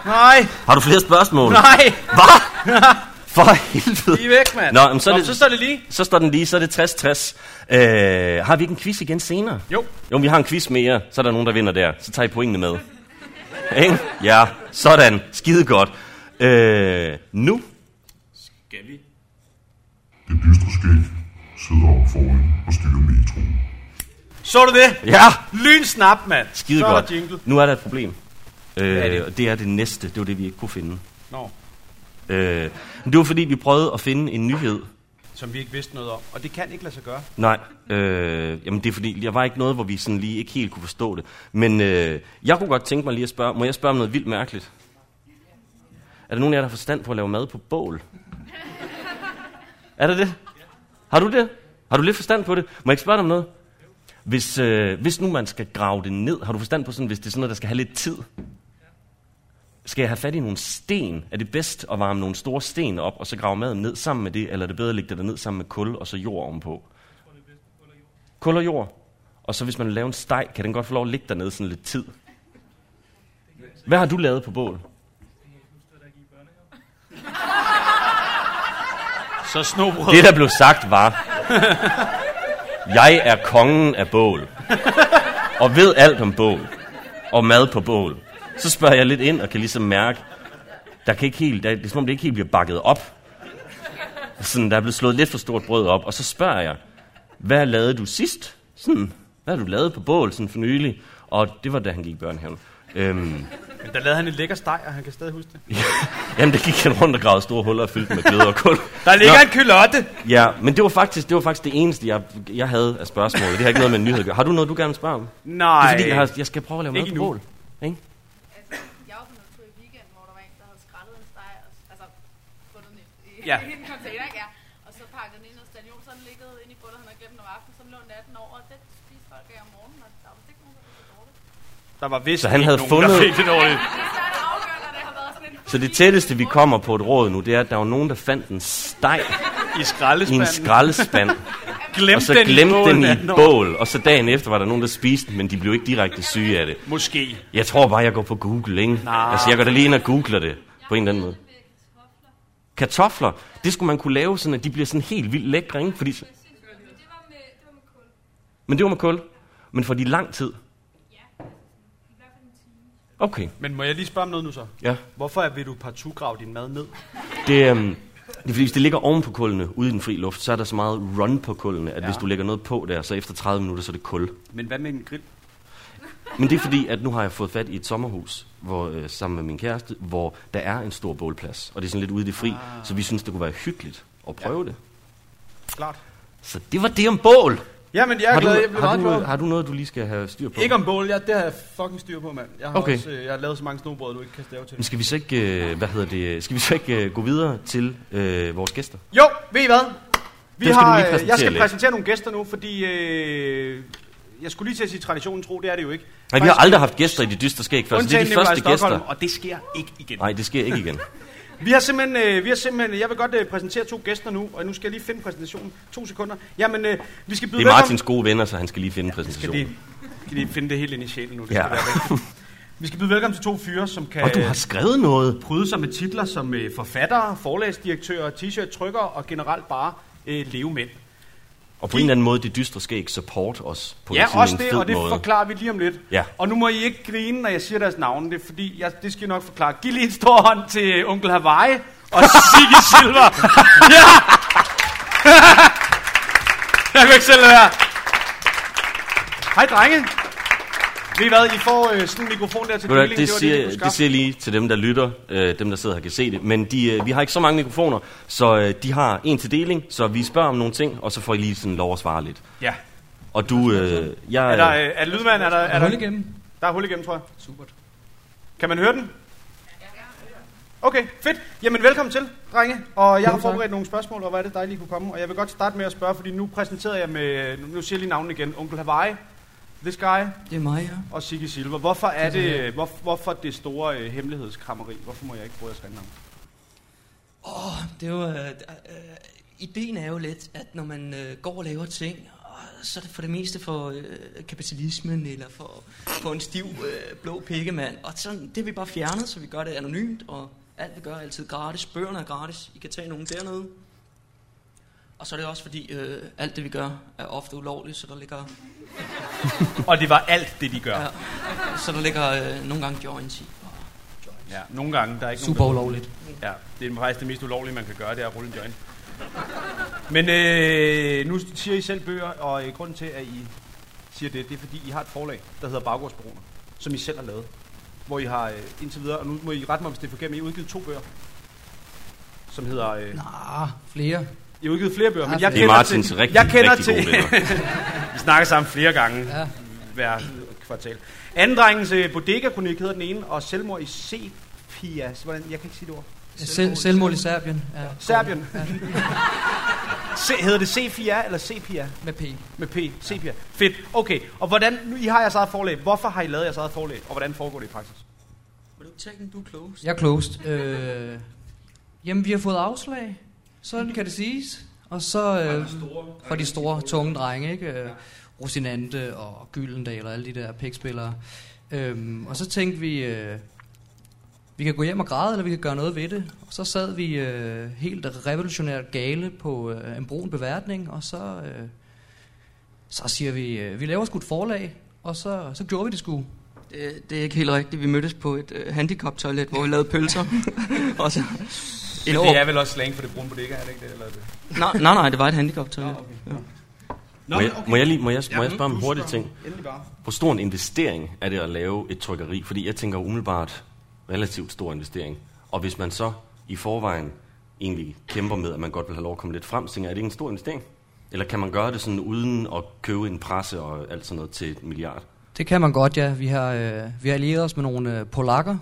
Speaker 2: Nej,
Speaker 1: Har du flere spørgsmål?
Speaker 2: nej,
Speaker 1: Hvad? For helvede.
Speaker 2: I er væk, mand.
Speaker 1: Nå, men så, er det,
Speaker 2: så står det lige.
Speaker 1: så står den lige, så er det 60-60. Øh, har vi ikke en quiz igen senere?
Speaker 2: Jo,
Speaker 1: Jo, men vi har en quiz mere, så er der nogen, der vinder der. Så tager I pointene med. Ikke? Ja, sådan. Skide godt. Øh, nu.
Speaker 2: skal vi?
Speaker 4: Det dystre skæg sidder op foran og styrer metroen.
Speaker 2: Så du det?
Speaker 1: Ja,
Speaker 2: Lynsnap, mand.
Speaker 1: skide
Speaker 2: så
Speaker 1: godt.
Speaker 2: Så er der jingle.
Speaker 1: Nu er der et problem. Øh,
Speaker 2: er
Speaker 1: det?
Speaker 2: det?
Speaker 1: Og det er det næste. Det var det, vi ikke kunne finde.
Speaker 2: Nå,
Speaker 1: Øh, men det var fordi, vi prøvede at finde en nyhed.
Speaker 2: som vi ikke vidste noget om. Og det kan ikke lade sig gøre.
Speaker 1: Nej, øh, jamen det er fordi, der var ikke noget, hvor vi sådan lige ikke helt kunne forstå det. Men øh, jeg kunne godt tænke mig lige at spørge, må jeg spørge om noget vildt mærkeligt? Er der nogen af jer, der har forstand på at lave mad på bål? Er der det? Har du det? Har du lidt forstand på det? Må jeg ikke spørge dig om noget? Hvis, øh, hvis nu man skal grave det ned, har du forstand på sådan, hvis det er sådan noget, der skal have lidt tid? Skal jeg have fat i nogle sten? Er det bedst at varme nogle store sten op, og så grave maden ned sammen med det, eller er det bedre at lægge det derned sammen med kul og så jord ovenpå? Kul og jord. Og så hvis man laver en steg, kan den godt få lov at ligge dernede sådan lidt tid. Hvad har du lavet på bål?
Speaker 2: Så snobrød.
Speaker 1: Det, der blev sagt, var... Jeg er kongen af bål. Og ved alt om bål. Og mad på bål. Så spørger jeg lidt ind og kan ligesom mærke, der kan ikke helt, der, det er som om, det ikke helt bliver bakket op. Sådan, der er blevet slået lidt for stort brød op. Og så spørger jeg, hvad lavede du sidst? Sådan, hvad har du lavet på bål sådan for nylig? Og det var da han gik i børnehaven. Øhm,
Speaker 2: Men der lavede han en lækker steg, og han kan stadig huske det.
Speaker 1: jamen, der gik han rundt og gravede store huller og fyldte med gløder og kul.
Speaker 2: Der ligger
Speaker 1: Nå.
Speaker 2: en kylotte.
Speaker 1: Ja, men det var faktisk det, var faktisk det eneste, jeg, jeg havde af spørgsmål. Det har ikke noget med en nyhed at gøre. Har du noget, du gerne vil spørge om? Det
Speaker 2: Nej.
Speaker 1: er fordi, jeg, har, jeg skal prøve at lave
Speaker 2: Ikke
Speaker 1: mad på
Speaker 2: endnu.
Speaker 1: bål. Ikke?
Speaker 5: Altså, jeg var på en tur i weekenden, hvor der var en, der havde skrællet en steg
Speaker 2: Ja.
Speaker 5: ja. i en container, ikke? Ja. Og så pakkede den ind hos Daniel, så den liggede inde i gulvet, han havde glemt den om aftenen, så den lå natten over, og det spiste folk af om morgenen, og der var vist ikke nogen, der
Speaker 1: Så han havde fundet-
Speaker 2: Der var vist ikke nogen, der fik
Speaker 5: fik det dårligt.
Speaker 2: det dårligt.
Speaker 5: Det er svært at afgøre, når det har været sådan en...
Speaker 1: Så det tætteste, vi kommer på et råd nu, det er, at der var nogen, der fandt en steg
Speaker 2: I
Speaker 1: i en
Speaker 2: skraldespanden.
Speaker 1: skraldespand,
Speaker 2: Glemte
Speaker 1: og så
Speaker 2: den i
Speaker 1: glemte
Speaker 2: bålet
Speaker 1: den i
Speaker 2: natten
Speaker 1: et
Speaker 2: over.
Speaker 1: bål, og så dagen efter var der nogen, der spiste den, men de blev ikke direkte syge af det.
Speaker 2: Måske.
Speaker 1: Jeg tror bare, jeg går på Google, ikke?
Speaker 2: Nej.
Speaker 1: Altså, jeg går da lige ind og googler det, på en eller anden måde. Kartofler, det skulle man kunne lave sådan, at de bliver sådan helt vildt lækre, ikke? Fordi, men det var med kul. Men for de lang tid. Okay,
Speaker 2: Men må jeg lige spørge om noget nu så?
Speaker 1: ja.
Speaker 2: Hvorfor vil du partout grave din mad ned?
Speaker 1: Det, øhm, det er fordi, hvis det ligger oven på kullene, ude i den fri luft, så er der så meget run på kullene, at ja. hvis du lægger noget på der, så efter 30 minutter, så er det kul.
Speaker 2: Men hvad med en grill?
Speaker 1: Men det er fordi, at nu har jeg fået fat i et sommerhus, hvor, øh, sammen med min kæreste, hvor der er en stor bålplads. Og det er sådan lidt ude i det fri, ah. så vi synes, det kunne være hyggeligt at prøve ja. det.
Speaker 2: Klart.
Speaker 1: Så det var det om bål.
Speaker 2: Jamen, jeg er
Speaker 1: har, du,
Speaker 2: glad. Jeg blev
Speaker 1: har,
Speaker 2: meget
Speaker 1: du, øh,
Speaker 2: glad.
Speaker 1: har du noget, du lige skal have styr på?
Speaker 2: Ikke om bål, jeg, det har jeg fucking styr på, mand. Jeg har,
Speaker 1: Okay.
Speaker 2: også, øh, jeg har lavet så mange snobrød, du ikke kan stave
Speaker 1: Men
Speaker 2: til.
Speaker 1: skal vi så ikke, øh, hvad hedder det, skal vi så ikke øh, gå videre til øh, vores gæster?
Speaker 2: Jo, ved I hvad? Vi
Speaker 1: Dem skal du lige
Speaker 2: øh,
Speaker 1: præsentere
Speaker 2: jeg skal
Speaker 1: lidt.
Speaker 2: præsentere nogle gæster nu, fordi øh, jeg skulle lige til at sige traditionen tro, det er det jo ikke.
Speaker 1: Nej, vi har aldrig haft gæster i det dystre skæg før, så det er
Speaker 2: Undtagen
Speaker 1: de
Speaker 2: Nikolaj
Speaker 1: første
Speaker 2: Stokholm,
Speaker 1: gæster.
Speaker 2: Og det sker ikke igen.
Speaker 1: Nej, det sker ikke igen.
Speaker 2: Vi har simpelthen, øh, vi har simpelthen, jeg vil godt øh, præsentere to gæster nu, og nu skal jeg lige finde præsentationen. To sekunder. Jamen, øh, vi skal byde
Speaker 1: Det er
Speaker 2: velkommen-
Speaker 1: Martins gode venner, så han skal lige finde
Speaker 2: Skal
Speaker 1: præsentationen.
Speaker 2: de, skal de finde det helt ind i sjælen nu? Det
Speaker 1: Ja.
Speaker 2: skal være rigtigt. vi skal byde velkommen til to fyre, som kan
Speaker 1: Og du har skrevet noget.
Speaker 2: pryde sig med titler som øh, forfattere, forlagsdirektører, t-shirt-trykker og generelt bare øh, leve mænd.
Speaker 1: Og på en eller anden måde, det dystre skal ikke support os på en,
Speaker 2: Ja,
Speaker 1: sådan
Speaker 2: også
Speaker 1: en
Speaker 2: det,
Speaker 1: fed
Speaker 2: og det
Speaker 1: måde.
Speaker 2: forklarer vi lige om lidt.
Speaker 1: Ja.
Speaker 2: Og nu må I ikke grine, når jeg siger deres navne, det er fordi, jeg, det skal jeg nok forklare. Giv lige en stor hånd til onkel Hawaii og Sigge Silver. ja! jeg kan ikke selv lade være. Hej drenge. Ved I hvad, I får øh, sådan en mikrofon der til
Speaker 1: Ved du hvad,
Speaker 2: deling.
Speaker 1: det,
Speaker 2: var
Speaker 1: siger,
Speaker 2: jeg kunne
Speaker 1: det
Speaker 2: skaffe.
Speaker 1: siger jeg lige til dem, der lytter, øh, dem, der sidder her, kan se det. Men de, øh, vi har ikke så mange mikrofoner, så øh, de har en til deling, så vi spørger om nogle ting, og så får I lige sådan lov at svare lidt.
Speaker 2: Ja.
Speaker 1: Og du, øh,
Speaker 2: Er der,
Speaker 1: jeg...
Speaker 2: øh, er lydmand, er der, er der,
Speaker 6: Hold igennem.
Speaker 2: Der er hul igennem, tror jeg. Super. Kan man høre den? Okay, fedt. Jamen, velkommen til, drenge. Og jeg har
Speaker 6: Jo, tak.
Speaker 2: forberedt nogle spørgsmål, og hvor er det dejligt, I kunne komme. Og jeg vil godt starte med at spørge, fordi nu præsenterede jeg med, nu siger jeg lige navnet igen, Onkel Hawaii, This Guy
Speaker 6: Det er mig, ja.
Speaker 2: og Sigge Silver. Hvorfor er
Speaker 6: Det er så
Speaker 2: det, hvor, hvorfor det store øh, hemmelighedskrammeri? Hvorfor må jeg ikke bruge jeres navn?
Speaker 6: Det er jo, øh, øh, ideen er jo lidt, at når man øh, går og laver ting, og så er det for det meste for øh, kapitalismen, eller for, for en stiv øh, blå pikkemand. Og sådan, det har vi bare fjernet, så vi gør det anonymt, og alt vi gør er altid gratis. Bøgerne er gratis. I kan tage nogen dernede. Og så er det også fordi, øh, alt det vi gør er ofte ulovligt, så der ligger,
Speaker 2: Og det var alt det, de gør. Ja.
Speaker 6: Ja. så der ligger øh, nogle gange joints i.
Speaker 2: ja. Nogle gange, der er ikke
Speaker 6: Super
Speaker 2: nogen,
Speaker 6: ulovligt.
Speaker 2: der, Ja, det er faktisk det mest ulovlige, man kan gøre, det er at rulle en joint. Men øh, nu siger I selv bøger, og øh, grunden til, at I siger det, det er fordi, I har et forlag, der hedder Baggårdsbaroner, som I selv har lavet. Hvor I har øh, indtil videre, og nu må I rette mig, hvis det er forkert, men I har udgivet to bøger, som hedder... Øh,
Speaker 6: Ah, flere.
Speaker 2: I har udgivet flere bøger, men jeg
Speaker 1: det er
Speaker 2: kender
Speaker 1: Martins
Speaker 2: til...
Speaker 1: rigtig,
Speaker 2: jeg kender
Speaker 1: rigtig
Speaker 2: til,
Speaker 1: gode venner.
Speaker 2: vi snakker sammen flere gange ja.
Speaker 6: Ja.
Speaker 2: hver kvartal. Andendrengens øh, bodega-kronik hedder den ene, og selvmord i Sepias. Hvordan? Jeg kan ikke sige det ord.
Speaker 6: Sel- selvmål i Serbien. Ja.
Speaker 2: Serbien. Se, hedder det C4 eller Sepia?
Speaker 6: Med P.
Speaker 2: Med P. Sepia. Fedt. Okay. Og hvordan, nu, I har jeres eget forlag. Hvorfor har I lavet jeres eget forlag? Og hvordan foregår det i praksis?
Speaker 6: Vil du tage den, du er close?
Speaker 7: Jeg er closed. Øh, jamen, vi har fået afslag. Sådan kan det siges. Og så øh, fra de store, tunge drenge, ikke? Øh, Rosinante og Gyldendal og alle de der pikspillere. Øhm, og så tænkte vi, øh, vi kan gå hjem og græde, eller vi kan gøre noget ved det. Og så sad vi øh, helt revolutionært gale på øh, en brun beværtning, og så, øh, så siger vi, øh, vi laver sgu et forlag, og så, så gjorde vi det sgu.
Speaker 6: Det, det er ikke helt rigtigt. Vi mødtes på et øh, handicap-toilet, hvor vi lavede pølser. og så et år.
Speaker 2: vel også slang for det brune bodega, er det ikke det? Eller det?
Speaker 6: Nej, nej, nej, det var et handicap-toilet.
Speaker 2: Nå, okay.
Speaker 6: Ja.
Speaker 1: Må jeg, må jeg, lige, må jeg, må jeg spørge om en
Speaker 2: du
Speaker 1: hurtig
Speaker 2: spørger.
Speaker 1: ting?
Speaker 2: Endelig bare.
Speaker 1: Hvor stor en investering er det at lave et trykkeri? Fordi jeg tænker umiddelbart, relativt stor investering. Og hvis man så i forvejen egentlig kæmper med, at man godt vil have lov at komme lidt frem, så tænker jeg, er det ikke en stor investering? Eller kan man gøre det sådan uden at købe en presse og alt sådan noget til et milliard?
Speaker 7: Det kan man godt, ja. Vi har, øh, vi har allieret os med nogle øh, polakker,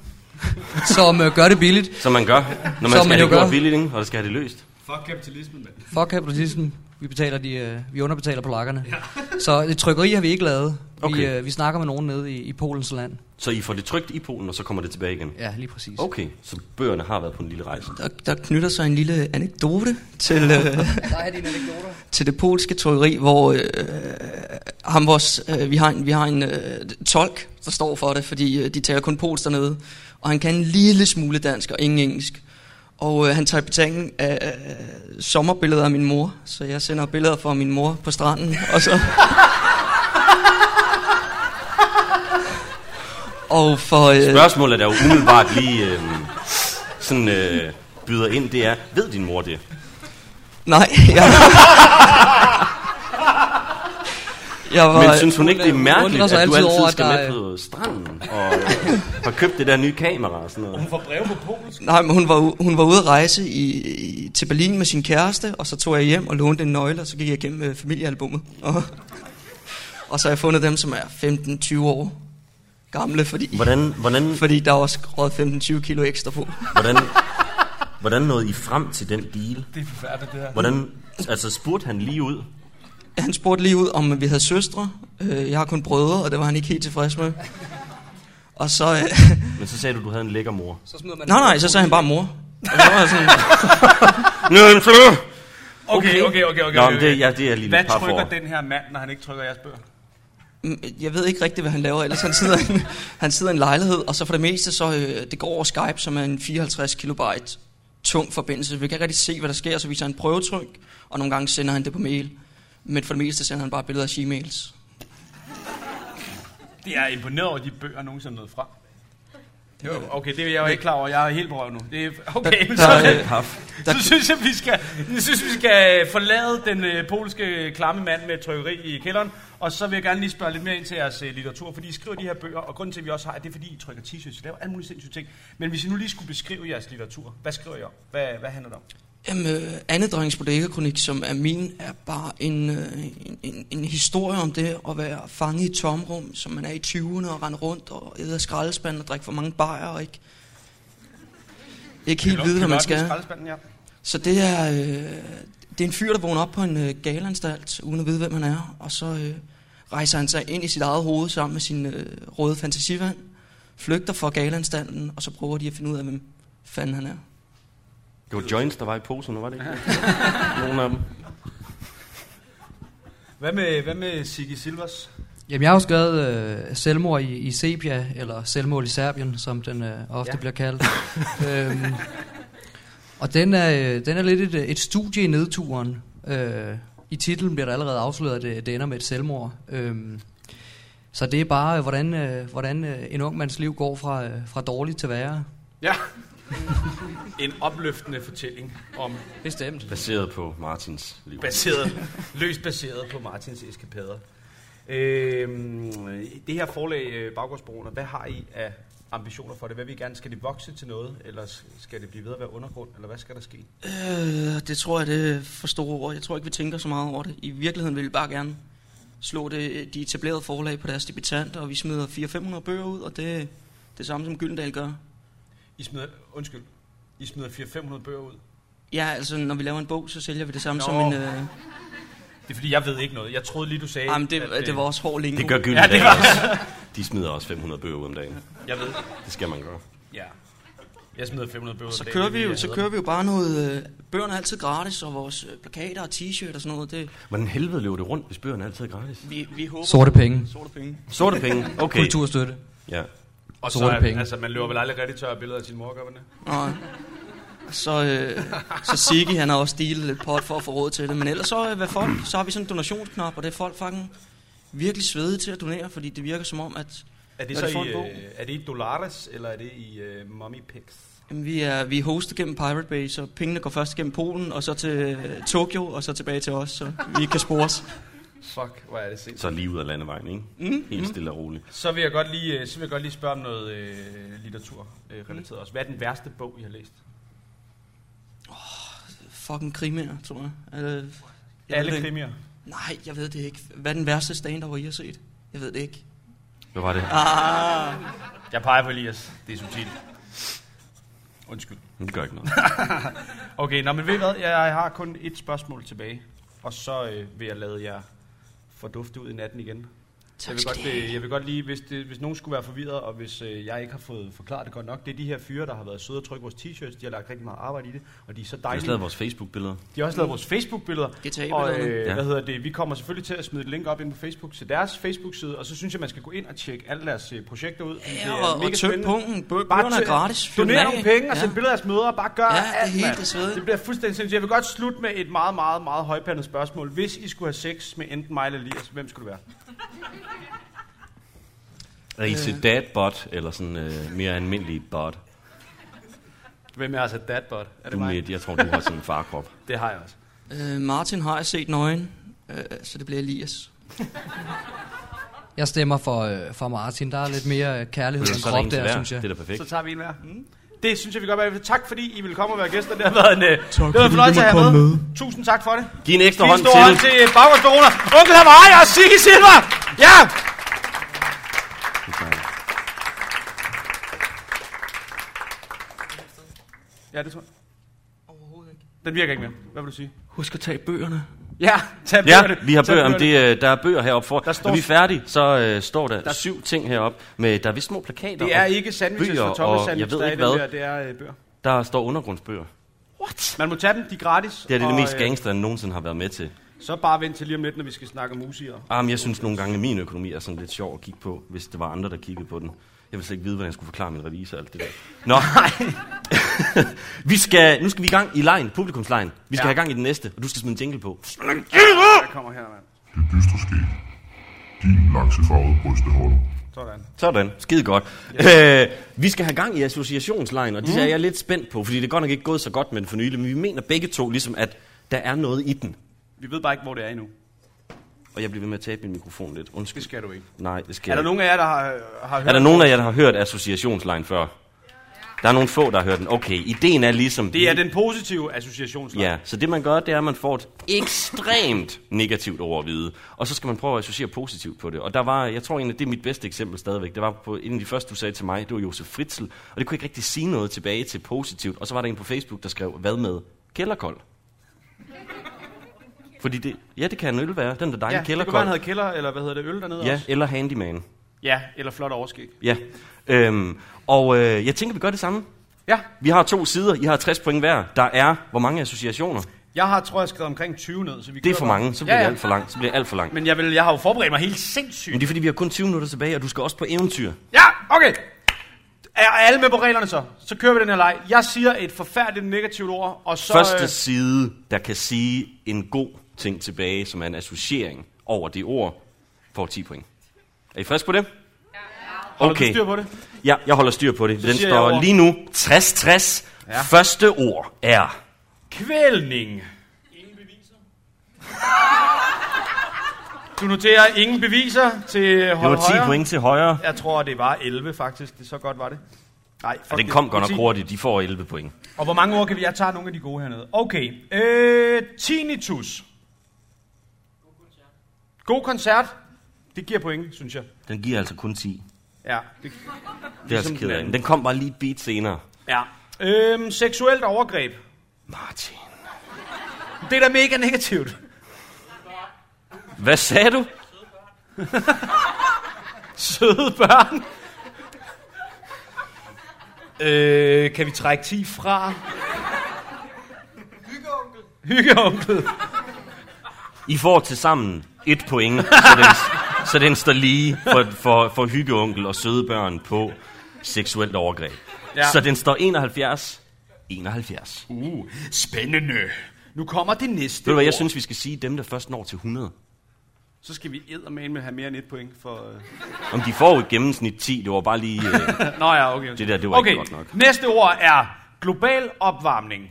Speaker 7: som øh, gør det billigt.
Speaker 1: Som man gør, når man skal
Speaker 7: Som man
Speaker 1: have
Speaker 7: jo
Speaker 1: det gjort
Speaker 7: gør.
Speaker 1: vildt, ikke? og der skal have det løst.
Speaker 2: Fuck kapitalismen, mand.
Speaker 7: Fuck kapitalismen. Vi, betaler de, øh, vi underbetaler polakkerne. Ja. Så et trykkeri har vi ikke lavet. Vi,
Speaker 1: Okay.
Speaker 7: øh, vi snakker med nogen nede i, i Polens land.
Speaker 1: Så I får det trygt i Polen, og så kommer det tilbage igen?
Speaker 7: Ja, lige præcis.
Speaker 1: Okay, så bøgerne har været på en lille rejse.
Speaker 6: Der, der knytter sig en lille anekdote til, øh,
Speaker 7: Der er dine anekdoter.
Speaker 6: til det polske trykkeri, hvor øh, ham vores, øh, vi har en, vi har en øh, tolk, der står for det, fordi øh, de taler kun polsk dernede, og han kan en lille smule dansk og ingen engelsk. Og øh, han tager i betaling af øh, sommerbilleder af min mor, så jeg sender billeder fra min mor på stranden, og så... og for... Øh,
Speaker 1: Spørgsmålet der jo umiddelbart lige øh, sådan, øh, byder ind, det er, ved din mor det?
Speaker 6: Nej, jeg... jeg var...
Speaker 1: Men synes hun ikke, det er
Speaker 7: hun
Speaker 1: mærkeligt,
Speaker 7: undrer
Speaker 1: at du
Speaker 7: sig
Speaker 1: altid
Speaker 7: altid over, at
Speaker 1: skal
Speaker 7: der
Speaker 1: med på stranden og øh, har købt det der nye kamera og sådan noget?
Speaker 2: Hun får breve på polsk.
Speaker 6: Nej, men hun var, u- hun var ude at rejse i, i, til Berlin med sin kæreste, og så tog jeg hjem og lånte en nøgle, og så gik jeg gennem øh, familiealbummet. Og, og så har jeg fundet dem, som er 15-20 år gamle, fordi,
Speaker 1: Hvordan, hvordan,
Speaker 6: fordi der var skåret 15-20 kilo ekstra på.
Speaker 1: hvordan, hvordan nåede I frem til den deal?
Speaker 2: Det er forfærdeligt, det her.
Speaker 1: Hvordan, altså spurgte han lige ud?
Speaker 6: Han spurgte lige ud, om vi havde søstre. Øh, jeg har kun brødre, og det var han ikke helt tilfreds med. Og så... Øh,
Speaker 1: Men så sagde du, du havde en lækker mor.
Speaker 7: Så smider man
Speaker 6: nej, nej, så sagde han bare mor. Og så var jeg sådan,
Speaker 1: Nu er en flue!
Speaker 2: Okay, okay, okay, okay.
Speaker 1: Nå,
Speaker 2: okay.
Speaker 1: men det, ja, det er jeg lige
Speaker 2: Hvad
Speaker 1: lidt par
Speaker 2: trykker
Speaker 1: for.
Speaker 2: den her mand, når han ikke trykker jeres bøger?
Speaker 6: Mm, Jeg ved ikke rigtigt, hvad han laver, ellers han sidder, i en, han sidder i en lejlighed, og så for det meste, så øh, det går over Skype, som er en 54 kilobyte tung forbindelse. Vi kan ikke rigtig se, hvad der sker, så viser han prøvetryk, og nogle gange sender han det på mail. Men for det meste sender han bare billeder af Gmails.
Speaker 2: Det er imponeret over, at de bøger nogensinde nåede frem. Jo, okay, det er jeg jo ikke klar over. Jeg er helt på røv nu. Det er, okay,
Speaker 6: Der-
Speaker 2: så,
Speaker 6: der, øh,
Speaker 1: Paf.
Speaker 6: der-
Speaker 2: så synes jeg, vi skal, jeg synes, vi skal forlade den øh, polske klamme mand med trykkeri i kælderen. Og så vil jeg gerne lige spørge lidt mere ind til jeres øh, litteratur, fordi I skriver de her bøger, og grunden til, at vi også har, det er, fordi I trykker t-shirts, I laver alle mulige sindssyge ting. Men hvis I nu lige skulle beskrive jeres litteratur, hvad skriver I om? Hvad, hvad handler det om?
Speaker 6: Jamen, øh, Anne Drengs Bodega-kronik, som er min, er bare en, øh, en, en, en historie om det at være fanget i et tomrum, som man er i 20'erne og rende rundt og æde af skraldespand og drikke for mange bajer og ikke, ikke helt vide, hvad man skal.
Speaker 2: Skraldespanden, ja.
Speaker 6: Så det er, øh, det er en fyr, der vågner op på en øh, galanstalt, uden at vide, hvem han er. Og så øh, rejser han sig ind i sit eget hoved sammen med sin øh, røde fantasivand, flygter fra galanstalten, og så prøver de at finde ud af, hvem fanden han er.
Speaker 1: Det var joints, der var i poserne, var det ikke? Nogle af dem.
Speaker 2: Hvad med, hvad med Sigge Silvers?
Speaker 7: Jamen, jeg har jo skrevet øh, selvmord i, i Sepia, eller selvmord i Serbien, som den øh, ofte
Speaker 2: Ja.
Speaker 7: ja. bliver kaldt. øhm, og den er, øh, den er lidt et, øh, et studie i nedturen. Øh, I titlen bliver der allerede afsløret, at øh, det, det ender med et selvmord. Øhm, så det er bare, øh, hvordan, øh, hvordan øh, en ung mands liv går fra, øh, fra dårligt til værre.
Speaker 2: Ja. en opløftende fortælling om
Speaker 7: Bestemt.
Speaker 1: Baseret på Martins liv.
Speaker 2: baseret, løst baseret på Martins eskapader. Øhm, det her forlag, øh, Baggårdsbrugerne, hvad har I af ambitioner for det? Hvad vil I gerne? Skal det vokse til noget, eller s- skal det blive ved at være undergrund, eller hvad skal der ske?
Speaker 6: Øh, det tror jeg, det er for store ord. Jeg tror ikke, vi tænker så meget over det. I virkeligheden vil vi bare gerne slå det, de etablerede forlag på deres debutanter, og vi smider 400-500 bøger ud, og det er det samme, som Gyldendal gør.
Speaker 2: I smider, undskyld, I smider 400-500 bøger ud.
Speaker 6: Ja, altså, når vi laver en bog, så sælger vi det samme
Speaker 2: Nå.
Speaker 6: Nå. som en... Øh,
Speaker 2: Det er fordi, jeg ved ikke noget. Jeg troede lige, du sagde...
Speaker 6: jamen, det,
Speaker 2: at, øh,
Speaker 6: det var også hård lingo.
Speaker 1: Det gør Gyldendal ja, også. De smider også 500 bøger ud om dagen.
Speaker 2: Jeg ved,
Speaker 1: Det skal man gøre.
Speaker 2: ja. Jeg smider 500 bøger ud.
Speaker 6: Så
Speaker 2: om dagen,
Speaker 6: kører
Speaker 2: det
Speaker 6: vi
Speaker 2: er,
Speaker 6: jo,
Speaker 2: jeg
Speaker 6: så
Speaker 2: hader.
Speaker 6: kører vi jo bare noget... Øh, bøgerne er altid gratis, og vores øh, plakater og t-shirt og sådan noget, det...
Speaker 1: Hvordan helvede løber det rundt, hvis bøgerne altid er gratis?
Speaker 6: Vi, vi håber...
Speaker 7: Sorte penge.
Speaker 6: Sorte penge.
Speaker 1: Sorte penge, okay.
Speaker 7: Kulturstøtte.
Speaker 1: Ja.
Speaker 2: Og så,
Speaker 7: Sorte penge.
Speaker 2: altså, man løber vel aldrig rigtig tør af billeder af sin mor, gør man det?
Speaker 6: Og så, øh, så Sigge, han har også dealet lidt pot for at få råd til det. Men ellers så, øh, hvad folk, så har vi sådan en donationsknap, og det er folk fucking virkelig svedige til at donere, fordi det virker som om, at
Speaker 2: Er det,
Speaker 6: Når
Speaker 2: så
Speaker 6: de får
Speaker 2: i,
Speaker 6: en bog?
Speaker 2: øh, er det i dollars, eller er det i øh, mommy pics?
Speaker 6: jamen, vi, er, vi er hostet gennem Pirate Bay, så pengene går først gennem Polen, og så til øh, Tokyo, og så tilbage til os, så vi kan spores.
Speaker 2: Fuck, hvor er det sindssygt.
Speaker 1: Så lige ud af landevejen, ikke? Helt stille og roligt.
Speaker 2: Så vil jeg godt lige, øh, så vil jeg godt lige spørge om noget øh, litteratur øh, relateret også. Hvad er den værste bog, I har læst?
Speaker 6: Fucking krimier, tror jeg. Øh, jeg
Speaker 2: Alle
Speaker 6: ved det ikke.
Speaker 2: krimier.
Speaker 6: Nej, jeg ved det ikke. Hvad er den værste stand-up, I har set? Jeg ved det ikke.
Speaker 1: Hvad var det?
Speaker 6: Ah,
Speaker 2: Jeg peger på Elias. Det er subtilt. Undskyld.
Speaker 1: Det gør ikke noget.
Speaker 2: Okay, nå, men ved I hvad? Jeg har kun et spørgsmål tilbage. Og så øh, vil jeg lade jer fordufte ud i natten igen. Jeg vil, godt, øh, jeg vil godt lige, hvis, det, hvis nogen skulle være forvirret, og hvis øh, jeg ikke har fået forklaret det godt nok, det er de her fyre, der har været søde og trykke vores t-shirts. De har lagt rigtig meget arbejde i det, og de er så
Speaker 1: Vi har
Speaker 2: dejlige.
Speaker 1: stadig vores Facebook-billeder.
Speaker 2: De har også lavet vores Facebook-billeder.
Speaker 6: GTA-billederne.
Speaker 2: Og øh,
Speaker 1: Ja.
Speaker 2: ja. hvad hedder det? Vi kommer selvfølgelig til at smide et link op ind på Facebook til deres Facebook-side, og så synes jeg, man skal gå ind og tjekke alle deres øh, projekter ud. fordi det er
Speaker 6: Ja, og,
Speaker 2: mega
Speaker 6: og tøm
Speaker 2: spændende.
Speaker 6: punkten. Bøgerne er
Speaker 2: tø-
Speaker 6: gratis. Fyr
Speaker 2: Doner
Speaker 6: den af.
Speaker 2: nogle penge og
Speaker 6: Ja.
Speaker 2: send billeder af jeres mødre. Bare gør
Speaker 6: Ja, det
Speaker 2: alt,
Speaker 6: hele,
Speaker 2: mand.
Speaker 6: det svede.
Speaker 2: det bliver fuldstændig sindssygt. Jeg vil godt slutte med et meget, meget, meget højpandet spørgsmål. Hvis I skulle have sex med enten mig eller Elias, hvem skulle det være?
Speaker 1: Is it dad bot, eller sådan øh, mere almindelig bot?
Speaker 2: Hvem er altså dadbot?
Speaker 1: Du,
Speaker 2: Er det mig?
Speaker 1: med, jeg tror, du har sådan en farkrop.
Speaker 2: Det har jeg også.
Speaker 6: Øh, Martin har jeg set nøgen, øh, så det bliver Elias.
Speaker 7: Jeg stemmer for, øh, for Martin. Der er lidt mere øh, kærlighed
Speaker 1: Så
Speaker 7: end
Speaker 1: er der
Speaker 7: krop
Speaker 1: en til
Speaker 7: der,
Speaker 1: hver.
Speaker 7: synes jeg.
Speaker 1: Det er da perfekt.
Speaker 2: Så tager vi en hver. Mm. Det synes jeg, vi godt være. Tak fordi I ville komme og være gæster. Det har været en, øh, det var en
Speaker 8: fordi
Speaker 2: fornøjelse
Speaker 8: vi
Speaker 2: at
Speaker 8: måtte
Speaker 2: have
Speaker 8: komme
Speaker 2: med. Tusind tak for det.
Speaker 1: Giv en ekstra
Speaker 2: Vi
Speaker 1: hånd
Speaker 2: står hånd
Speaker 1: til.
Speaker 2: til baggrundsdoner. Onkel Hawaii og Sigge Silver. Ja! Ja, det tror jeg. Den virker ikke mere. Hvad vil du sige?
Speaker 6: Husk at tage bøgerne.
Speaker 2: Ja, tag
Speaker 1: Ja,
Speaker 2: bøgerne.
Speaker 1: vi har
Speaker 2: Tag
Speaker 1: bøger. Om det, øh, der er bøger heroppe for.
Speaker 2: Der står-
Speaker 1: Når vi er færdige, så øh, står der,
Speaker 2: Der-
Speaker 1: syv ting heroppe. Med, der er vist små plakater.
Speaker 2: Det er
Speaker 1: og
Speaker 2: ikke sandwiches
Speaker 1: bøger,
Speaker 2: for Thomas
Speaker 1: og jeg
Speaker 2: sandwich,
Speaker 1: ved
Speaker 2: der er i
Speaker 1: ikke
Speaker 2: den
Speaker 1: hvad.
Speaker 2: der. Det er øh, bøger.
Speaker 1: Der står undergrundsbøger.
Speaker 2: Man må tage dem, de er gratis.
Speaker 1: Det er det, det
Speaker 2: og,
Speaker 1: mest
Speaker 2: øh,
Speaker 1: gangster, jeg nogensinde har været med til.
Speaker 2: Så bare vent til lige om lidt, når vi skal snakke om musier.
Speaker 1: Ah, men jeg synes nogle gange, at min økonomi er sådan lidt sjov at kigge på, hvis det var andre, der kiggede på den. Jeg vil slet ikke vide, hvordan jeg skulle forklare min revisor og alt det der. Nå, nej. vi skal, nu skal vi i gang i lejen, publikumslejen. Vi skal
Speaker 2: Ja.
Speaker 1: ja. have gang i den næste, og du skal smide en jingle på. Ah!
Speaker 2: Jeg kommer her, mand.
Speaker 4: Det dystre skæg. Din laksefarvede brysteholder.
Speaker 2: Sådan.
Speaker 1: Sådan, skide godt. Ja. Øh, vi skal have gang i associationslejen,
Speaker 2: Mhm.
Speaker 1: og det er jeg lidt spændt på, fordi det er godt nok ikke gået så godt med den for nylig, men vi mener begge to ligesom, at der er noget i den.
Speaker 2: Vi ved bare ikke, hvor det er endnu.
Speaker 1: Og jeg bliver ved med at tabe min mikrofon lidt. Undskyld.
Speaker 2: Det skal du ikke.
Speaker 1: Nej, det skal
Speaker 2: Er der
Speaker 1: jeg
Speaker 2: nogen af jer, der har, har hørt?
Speaker 1: Er der nogen af jer, der har hørt associationslejen før? Der er nogle få, der har hørt den. Okay, ideen er ligesom...
Speaker 2: Det er den positive associationslag.
Speaker 1: Ja, så det man gør, det er, at man får et ekstremt negativt ord at vide, og så skal man prøve at associere positivt på det. Og der var, jeg tror egentlig, det er mit bedste eksempel stadigvæk, det var på en af de første, du sagde til mig, det var Josef Fritzl, og det kunne ikke rigtig sige noget tilbage til positivt. Og så var der en på Facebook, der skrev, hvad med kælderkold? Fordi det, ja, det kan en øl være, den der dejlige
Speaker 2: ja
Speaker 1: ja,
Speaker 2: det kunne
Speaker 1: kælderkold.
Speaker 2: være, han havde kælder, eller hvad hedder det, øl dernede
Speaker 1: Ja,
Speaker 2: også.
Speaker 1: eller handyman.
Speaker 2: Ja, eller flot overskæg.
Speaker 1: Ja. Øhm, og øh, jeg tænker, vi gør det samme.
Speaker 2: Ja,
Speaker 1: Vi har to sider, I har 60 point hver. Der er, hvor mange associationer?
Speaker 2: jeg har, tror jeg, skrevet omkring 20 ned, så vi
Speaker 1: Det er
Speaker 2: kører
Speaker 1: for
Speaker 2: bare.
Speaker 1: mange, så
Speaker 2: ja,
Speaker 1: bliver det
Speaker 2: ja.
Speaker 1: alt for langt. Så bliver det alt for langt.
Speaker 2: Men jeg, vil, jeg har jo forberedt mig helt sindssygt.
Speaker 1: Men det er fordi, vi har kun 20 minutter tilbage, og du skal også på eventyr.
Speaker 2: Ja, okay. Er alle med på reglerne så? Så kører vi den her leg. Jeg siger et forfærdeligt negativt ord, og så...
Speaker 1: Første
Speaker 2: øh,
Speaker 1: side, der kan sige en god ting tilbage, som er en associering over det ord, får 10 point. Er I friske på det?
Speaker 2: holder du
Speaker 1: Okay,
Speaker 2: styr på det?
Speaker 1: ja, jeg holder styr på det. Den
Speaker 2: siger jeg
Speaker 1: står
Speaker 2: ord.
Speaker 1: lige nu 60-60.
Speaker 2: Ja.
Speaker 1: Første ord er...
Speaker 2: Kvælning. Du noterer ingen beviser til
Speaker 1: Det
Speaker 2: hold
Speaker 1: var 10
Speaker 2: højre.
Speaker 1: point til højre.
Speaker 2: Jeg tror, det var 11 faktisk. Det så godt var det. Nej, fuck
Speaker 1: Og den
Speaker 2: det.
Speaker 1: kom godt nok
Speaker 2: 10.
Speaker 1: hurtigt. De får 11 point.
Speaker 2: Og hvor mange ord kan vi? Jeg tager nogle af de gode hernede. Okay. Øh, tinnitus. God koncert. Det giver point, synes jeg.
Speaker 1: Den giver altså kun 10.
Speaker 2: Ja. Det,
Speaker 1: Det er jeg
Speaker 2: Ligesom
Speaker 1: så altså ked
Speaker 2: den
Speaker 1: af.
Speaker 2: anden.
Speaker 1: Den kom bare lige et beat senere.
Speaker 2: ja. Øhm, seksuelt overgreb.
Speaker 1: Martin.
Speaker 2: Det er da mega negativt.
Speaker 1: Hvad sagde du?
Speaker 2: Søde børn. øh, kan vi trække 10 fra? Hyggeonkel. Hyggeonkel.
Speaker 1: I får til sammen et point, så den, så den står lige for, for, for hyggeonkel og søde børn på seksuelt overgreb.
Speaker 2: Ja.
Speaker 1: Ja. Så den står 71. 71. Uh,
Speaker 2: Uh, spændende. Nu kommer det næste
Speaker 1: Ved du hvad, jeg
Speaker 2: ord.
Speaker 1: synes, vi skal sige dem, der først når til 100.
Speaker 2: Så skal vi eddermane med have mere end et point for... Øh...
Speaker 1: Om de får et gennemsnit 10, det var bare lige... Øh,
Speaker 2: Nå ja, okay.
Speaker 1: Det der, det var
Speaker 2: okay.
Speaker 1: ikke godt nok.
Speaker 2: Næste ord er global opvarmning.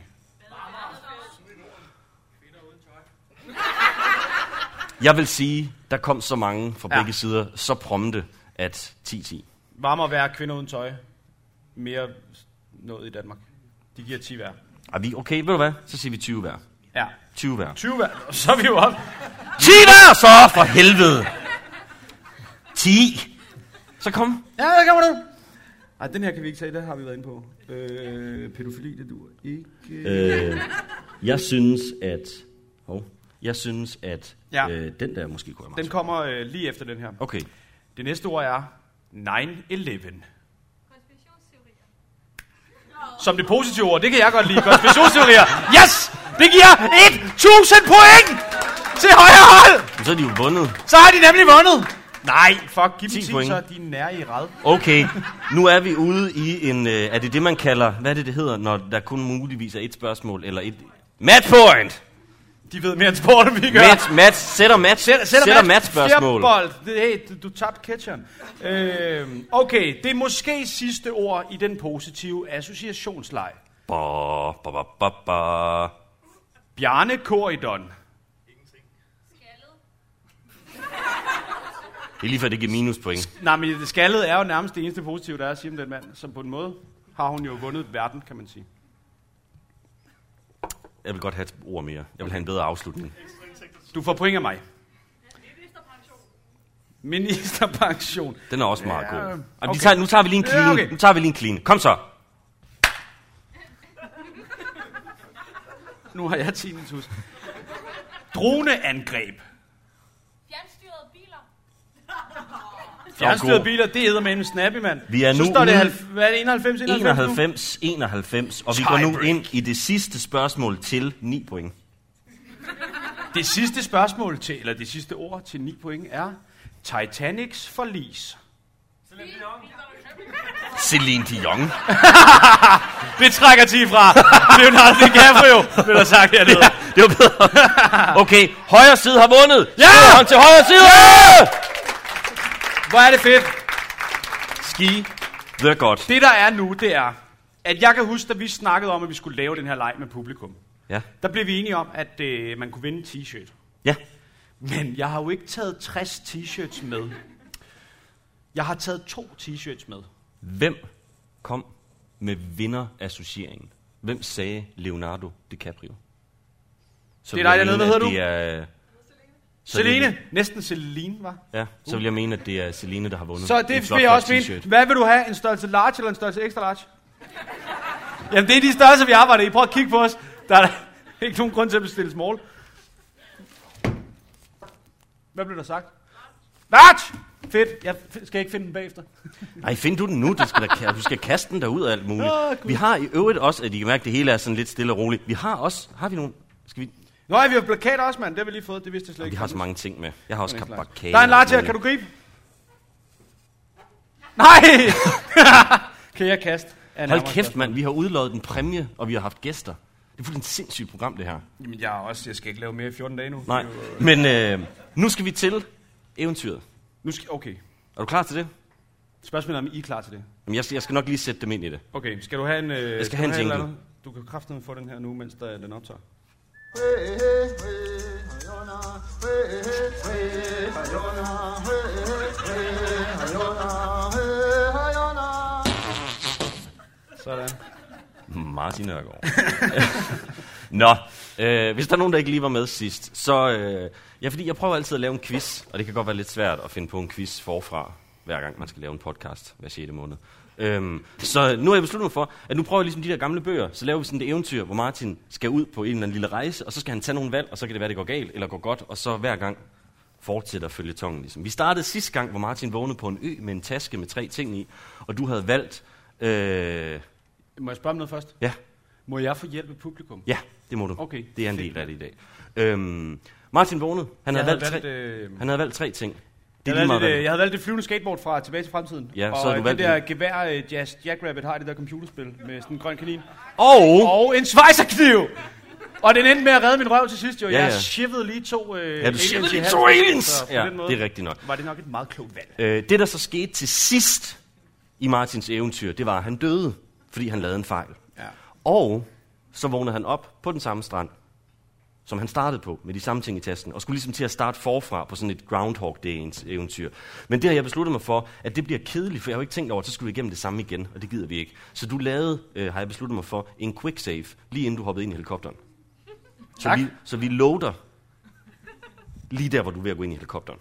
Speaker 1: jeg vil sige, der kom så mange fra
Speaker 2: Ja.
Speaker 1: ja. begge sider, så prompte, at 10-10.
Speaker 2: Varmere vejr, kvinder uden tøj. Mere noget i Danmark. De giver 10 hver.
Speaker 1: Er vi okay, ved du hvad? Så siger vi 20 hver.
Speaker 2: Ja.
Speaker 1: 20 hver.
Speaker 2: 20 hver. Så er vi jo op.
Speaker 1: 10 hver så, for helvede! 10! Så kom.
Speaker 2: Ja, der kommer du. Nej, den her kan vi ikke tage, det har vi været inde på. Øh, pædofili, det dur ikke.
Speaker 1: Øh, jeg synes, at... Hov, jeg synes, at
Speaker 2: Ja.
Speaker 1: ja. øh, den der måske kunne være
Speaker 2: Den
Speaker 1: meget
Speaker 2: kommer øh, lige efter den her.
Speaker 1: sjov. Okay.
Speaker 2: Det næste ord er 9-11.
Speaker 5: Konspirationsteorier.
Speaker 2: Som det positive ord, det kan jeg godt lide. Konspirationsteorier. Yes! Det giver 1000 point! Til højre hold!
Speaker 1: Så er de jo vundet.
Speaker 2: Så har de nemlig vundet! Nej, fuck, giv dem
Speaker 1: 10
Speaker 2: 10
Speaker 1: point.
Speaker 2: så de er nære i red.
Speaker 1: Okay, nu er vi ude i en... Øh, er det det, man kalder... Hvad er det, det hedder, når der kun muligvis er et spørgsmål eller et... Match point!
Speaker 2: De ved mere end sport, end vi gør.
Speaker 1: Match, match, sætter match, sætter, sætter, sætter match spørgsmål.
Speaker 2: Fjerbold. Det, hey, du, du tabte catcheren. Øh, okay, det er måske sidste ord i den positive associationsleg.
Speaker 1: Ba, ba, ba, ba, ba.
Speaker 2: Bjarne Koridon.
Speaker 5: Skaldet.
Speaker 1: Det er lige før, det giver minuspoint.
Speaker 2: Nej, men det skaldet er jo nærmest det eneste positive, der er at sige om den mand. Så på en måde har hun jo vundet verden, kan man sige.
Speaker 1: Jeg vil godt have et ord mere. Jeg vil have en bedre afslutning.
Speaker 2: Du får point af mig.
Speaker 5: Ministerpension.
Speaker 2: Ministerpension.
Speaker 1: Den er også meget
Speaker 2: Ja,
Speaker 1: god. Okay.
Speaker 2: okay.
Speaker 1: Vi tager, nu tager vi lige en
Speaker 2: Ja,
Speaker 1: clean.
Speaker 2: okay.
Speaker 1: Nu tager vi lige en clean. Kom så.
Speaker 2: Nu har jeg tinnitus. Droneangreb.
Speaker 5: Fjernstyrede biler.
Speaker 2: Fjernstyrede
Speaker 1: god.
Speaker 2: biler, det hedder med en snappy, mand.
Speaker 1: Vi er
Speaker 2: Så
Speaker 1: nu
Speaker 2: står det,
Speaker 1: ude-
Speaker 2: halv- hvad er det 91, 91, 91
Speaker 1: 91, 91. Og vi går nu
Speaker 2: Tiebreak.
Speaker 1: ind i det sidste spørgsmål til 9 point.
Speaker 2: Det sidste spørgsmål til, eller det sidste ord til 9 point er Titanics forlis.
Speaker 1: Celine Dion.
Speaker 2: Det trækker 10 fra. Leonardo DiCaprio, vil der sagt hernede.
Speaker 1: Det var bedre. Okay, højre side har vundet.
Speaker 2: Ja!
Speaker 1: Skål, Hånd til højre side. Ja!
Speaker 2: Hvor er det fedt.
Speaker 1: Ski. Det er godt.
Speaker 2: Det der er nu, det er, at jeg kan huske, da vi snakkede om, at vi skulle lave den her leg med publikum.
Speaker 1: Ja.
Speaker 2: Der blev vi enige om, at øh, man kunne vinde en t-shirt.
Speaker 1: Ja.
Speaker 2: Men jeg har jo ikke taget 60 t-shirts med. Jeg har taget to t-shirts med.
Speaker 1: Hvem kom med vinderassocieringen? Hvem sagde Leonardo DiCaprio? Så
Speaker 2: Det er dig
Speaker 1: vil jeg
Speaker 2: dernede. Hvad
Speaker 1: mene, at
Speaker 2: hedder
Speaker 1: det er-
Speaker 2: Celine. Næsten Celine, var.
Speaker 1: Ja, så vil jeg mene, at det er Celine, der har vundet.
Speaker 2: Så
Speaker 1: Mm. en
Speaker 2: det
Speaker 1: flot
Speaker 2: vil jeg
Speaker 1: flot
Speaker 2: også mene.
Speaker 1: t-shirt.
Speaker 2: Hvad vil du have? En størrelse large eller en størrelse extra large? Jamen, det er de størrelser, vi arbejder i. Prøv at kigge på os. Der er da ikke nogen grund til at bestille small. Hvad blev der sagt? Large! Fedt. Jeg f- skal ikke finde den bagefter.
Speaker 1: Nej, find du den nu. Du skal, da, ka- du skal kaste den derud og alt muligt.
Speaker 2: Åh, Gud.
Speaker 1: vi har i øvrigt også, at I kan mærke, at det hele er sådan lidt stille og roligt. Vi har også, har vi nogle, skal vi,
Speaker 2: Nå, ja, vi har plakater også, mand. Det har vi lige fået. Det vidste jeg slet
Speaker 1: vi
Speaker 2: ikke.
Speaker 1: har så mange ting med. Jeg har også kabakage.
Speaker 2: Der er en large her. Kan du gribe? Nej! kan jeg kaste? Ja,
Speaker 1: Hold
Speaker 2: nærmere
Speaker 1: kæft, mand. Vi har udløjet en præmie, og vi har haft gæster. Det er fuldstændig sindssygt program, det her.
Speaker 2: Jamen, jeg, er også, jeg skal ikke lave mere i 14 dage nu.
Speaker 1: Nej, men øh, nu skal vi til eventyret.
Speaker 2: Nu skal, okay.
Speaker 1: Er du klar til det?
Speaker 2: Spørgsmålet er, om I er klar til det.
Speaker 1: Jamen, jeg, skal, jeg skal nok lige sætte dem ind i det.
Speaker 2: Okay, skal du have en... Øh, jeg
Speaker 1: skal have en jingle.
Speaker 2: Du kan kraftedeme få den her nu, mens der, den optager. Sådan.
Speaker 1: Martin Nørgaard. Nå, øh, hvis der er nogen, der ikke lige var med sidst, så... Øh, ja, fordi jeg prøver altid at lave en quiz, og det kan godt være lidt svært at finde på en quiz forfra, hver gang man skal lave en podcast hver 6. måned. Øhm, så nu har jeg besluttet mig for, at nu prøver jeg ligesom de der gamle bøger, så laver vi sådan et eventyr, hvor Martin skal ud på en eller anden lille rejse, og så skal han tage nogle valg, og så kan det være, det går galt eller går godt, og så hver gang fortsætter følgetongen. Ligesom. Vi startede sidste gang, hvor Martin vågnede på en ø med en taske med tre ting i, og du havde valgt... Øh,
Speaker 2: Må jeg spørge om noget først?
Speaker 1: ja,
Speaker 2: Må jeg få hjælp af publikum?
Speaker 1: Ja, det må du.
Speaker 2: Okay.
Speaker 1: Det er en del af det i dag. Øhm, Martin vågnede. Han havde,
Speaker 2: Jeg havde
Speaker 1: valgt,
Speaker 2: valgt,
Speaker 1: tre,
Speaker 2: øh,
Speaker 1: han havde valgt tre ting.
Speaker 2: Det
Speaker 1: Det er lige
Speaker 2: jeg,
Speaker 1: meget, hvad
Speaker 2: havde valgt,
Speaker 1: det
Speaker 2: det,
Speaker 1: er.
Speaker 2: jeg havde valgt det flyvende skateboard fra Tilbage til Fremtiden.
Speaker 1: Ja,
Speaker 2: og
Speaker 1: så havde du
Speaker 2: det
Speaker 1: valgt
Speaker 2: der
Speaker 1: en-
Speaker 2: gevær øh, Jazz Jackrabbit har i det der computerspil med sådan en grøn kanin.
Speaker 1: Og
Speaker 2: Og en svejserkniv! Og den endte med at redde min røv til sidst, jo.
Speaker 1: Ja,
Speaker 2: Ja, jeg
Speaker 1: ja.
Speaker 2: shivede lige to... Øh,
Speaker 1: Ja, du
Speaker 2: aliens
Speaker 1: shivede
Speaker 2: i
Speaker 1: lige
Speaker 2: halsen.
Speaker 1: to aliens!
Speaker 2: Så på
Speaker 1: Ja,
Speaker 2: den måde
Speaker 1: det er rigtigt nok.
Speaker 2: Var det nok et meget klogt valg.
Speaker 1: øh, det, der så skete til sidst i Martins eventyr, det var, at han døde, fordi han lavede en fejl.
Speaker 2: Ja.
Speaker 1: Og så vågnede han op på den samme strand, som han startede på, med de samme ting i tasken, og skulle ligesom til at starte forfra på sådan et Groundhog Day eventyr. Men det har jeg besluttet mig for, at det bliver kedeligt, for jeg har jo ikke tænkt over, at så skulle vi igennem det samme igen, og det gider vi ikke. Så du lavede, øh, har jeg besluttet mig for, en quick save, lige inden du hoppede ind i helikopteren. Så
Speaker 2: Tak.
Speaker 1: vi, så vi loader lige der, hvor du er ved at gå ind i helikopteren.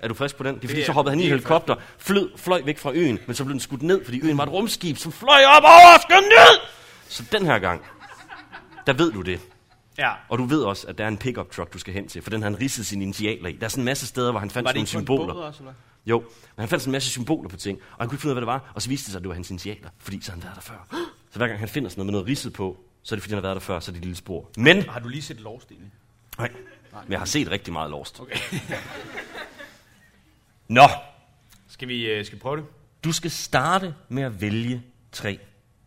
Speaker 1: Er du frisk på den? Det er fordi,
Speaker 2: Det er-
Speaker 1: så hoppede han i en
Speaker 2: det er
Speaker 1: helikopter, flød, fløj væk fra øen, men så blev den skudt ned, fordi øen var et rumskib, som fløj op over og skød ned! Så den her gang, der ved du det.
Speaker 2: Ja.
Speaker 1: Og du ved også, at der er en pickup truck, du skal hen til, for den har han ridset sine initialer i. Der er sådan en masse steder, hvor han fandt
Speaker 2: Var det
Speaker 1: nogle
Speaker 2: ikke symboler.
Speaker 1: symboler.
Speaker 2: Båd også, eller? hvad?
Speaker 1: Jo, men han fandt sådan en masse symboler på ting, og han kunne ikke finde ud af, hvad det var, og så viste det sig, at det var hans initialer, fordi så havde han været der før. Så hver gang han finder sådan noget med noget ridset på, så er det fordi, han har været der før, så er det et lille spor. Men,
Speaker 2: Har du lige set Lost egentlig?
Speaker 1: nej, men jeg har set rigtig meget Lost.
Speaker 2: Okay.
Speaker 1: Nå,
Speaker 2: Skal vi, øh, skal vi prøve det?
Speaker 1: du skal starte med at vælge tre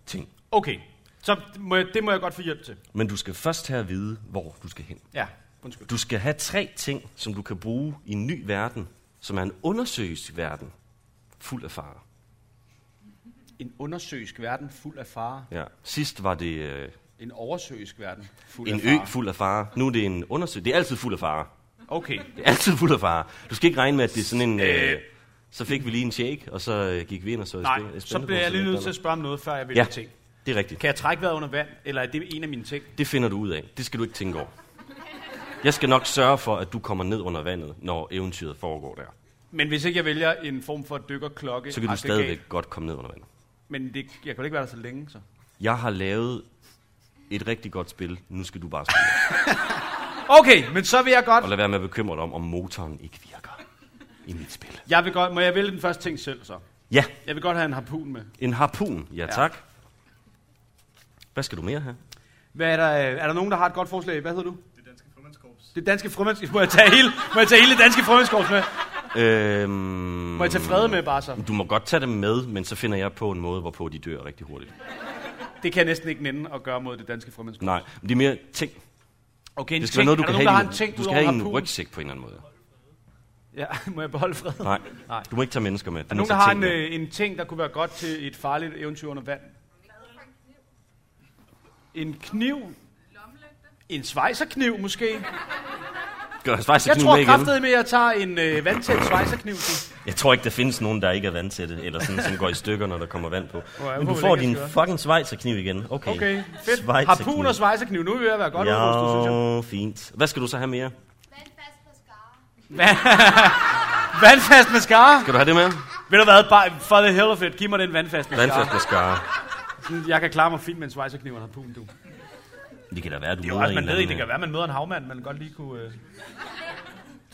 Speaker 1: ting.
Speaker 2: Okay. Så det må jeg, det må jeg godt få hjælp til.
Speaker 1: Men du skal først have at vide, hvor du skal hen.
Speaker 2: Ja, undskyld.
Speaker 1: Du skal have tre ting, som du kan bruge i en ny verden, som er en undersøgelsesverden verden, fuld af farer.
Speaker 2: En undersøisk verden fuld af fare.
Speaker 1: Ja. Sidst var det øh,
Speaker 2: En oversøisk verden fuld
Speaker 1: en
Speaker 2: af
Speaker 1: ø
Speaker 2: fare.
Speaker 1: fuld af farer. Nu er det en undersøgelse. Det er altid fuld af farer.
Speaker 2: Okay.
Speaker 1: Det er altid fuld af farer. Du skal ikke regne med, at det er sådan en... Øh, så fik vi lige en shake, og så øh, gik vi ind og så...
Speaker 2: Nej, så bliver jeg lige nødt til at spørge om noget, før jeg vælger
Speaker 1: Ja,
Speaker 2: ja. ting.
Speaker 1: det er rigtigt.
Speaker 2: Kan jeg trække vejret under vand, eller er det en af mine ting?
Speaker 1: Det finder du ud af. Det skal du ikke tænke over. Jeg skal nok sørge for, at du kommer ned under vandet, når eventyret foregår der.
Speaker 2: Men hvis ikke jeg vælger en form for dykkerklokke...
Speaker 1: Så kan du
Speaker 2: aggregat-
Speaker 1: stadigvæk godt komme ned under vandet.
Speaker 2: Men det, jeg kan da ikke være der så længe, så.
Speaker 1: Jeg har lavet et rigtig godt spil. Nu skal du bare spille.
Speaker 2: Okay, men så vil jeg godt...
Speaker 1: Og lad være med at bekymre dig om, om motoren ikke virker i mit spil.
Speaker 2: Jeg vil godt... Må jeg vælge den første ting selv, så?
Speaker 1: Ja,
Speaker 2: Jeg vil godt have en harpun med.
Speaker 1: en harpun. Ja, tak. Hvad skal du mere have?
Speaker 2: Hvad er, der, øh, er der nogen, der har et godt forslag? Hvad hedder du? Det danske frømandskorps. Det danske frømandskorps. Må jeg tage hele, må jeg tage hele det danske frømandskorps med?
Speaker 1: Øhm,
Speaker 2: Må jeg tage Frede med bare så?
Speaker 1: Du må godt tage dem med, men så finder jeg på en måde, hvorpå de dør rigtig hurtigt.
Speaker 2: Det kan jeg næsten ikke nænde at gøre mod det danske frømandskorps.
Speaker 1: Nej, men det er mere ting.
Speaker 2: Okay, en
Speaker 1: Det skal
Speaker 2: ting.
Speaker 1: være noget, du
Speaker 2: er
Speaker 1: kan
Speaker 2: der nogen, der
Speaker 1: have,
Speaker 2: har en ting
Speaker 1: du skal
Speaker 2: udover
Speaker 1: have i en
Speaker 2: harpun?
Speaker 1: rygsæk på en eller anden måde.
Speaker 2: Ja, må jeg beholde Frede?
Speaker 1: Nej,
Speaker 2: Nej.
Speaker 1: du må ikke tage mennesker med.
Speaker 2: Er der nogen, der har en, øh, en ting, der kunne være godt til et farligt eventyr under vand? En kniv? En svejserkniv måske?
Speaker 1: Gør faktisk
Speaker 2: Jeg
Speaker 1: ikke med
Speaker 2: tror
Speaker 1: igen.
Speaker 2: kraftedet med, at jeg tager en øh, vandtæt svejserkniv. til.
Speaker 1: Jeg tror ikke, der findes nogen, der ikke er vandtætte, eller sådan, som går i stykker, når der kommer vand på.
Speaker 2: jeg
Speaker 1: Men du
Speaker 2: håber,
Speaker 1: får
Speaker 2: det ikke
Speaker 1: din
Speaker 2: er skørt.
Speaker 1: fucking svejserkniv igen. Okay,
Speaker 2: Okay, fedt.
Speaker 1: Schweizerkniv.
Speaker 2: Harpun og svejserkniv, nu er vi ved at være godt udrustet, synes jeg.
Speaker 1: Ja, fint. Hvad skal du så have mere?
Speaker 8: Vandfast mascara.
Speaker 2: Vandfast mascara.
Speaker 1: Skal du have det med?
Speaker 2: Ved du hvad, bare for the hell of it, giv mig den vandfast
Speaker 1: Vandfast
Speaker 2: mascara.
Speaker 1: mascara.
Speaker 2: Jeg kan klare mig fint med en svejserkniv og en harpun, du.
Speaker 1: Det kan da være, du
Speaker 2: Det er jo
Speaker 1: møder
Speaker 2: også, man
Speaker 1: en
Speaker 2: ved ikke,
Speaker 1: eller
Speaker 2: det kan
Speaker 1: anden-
Speaker 2: være, man møder en havmand, man godt lige kunne øh,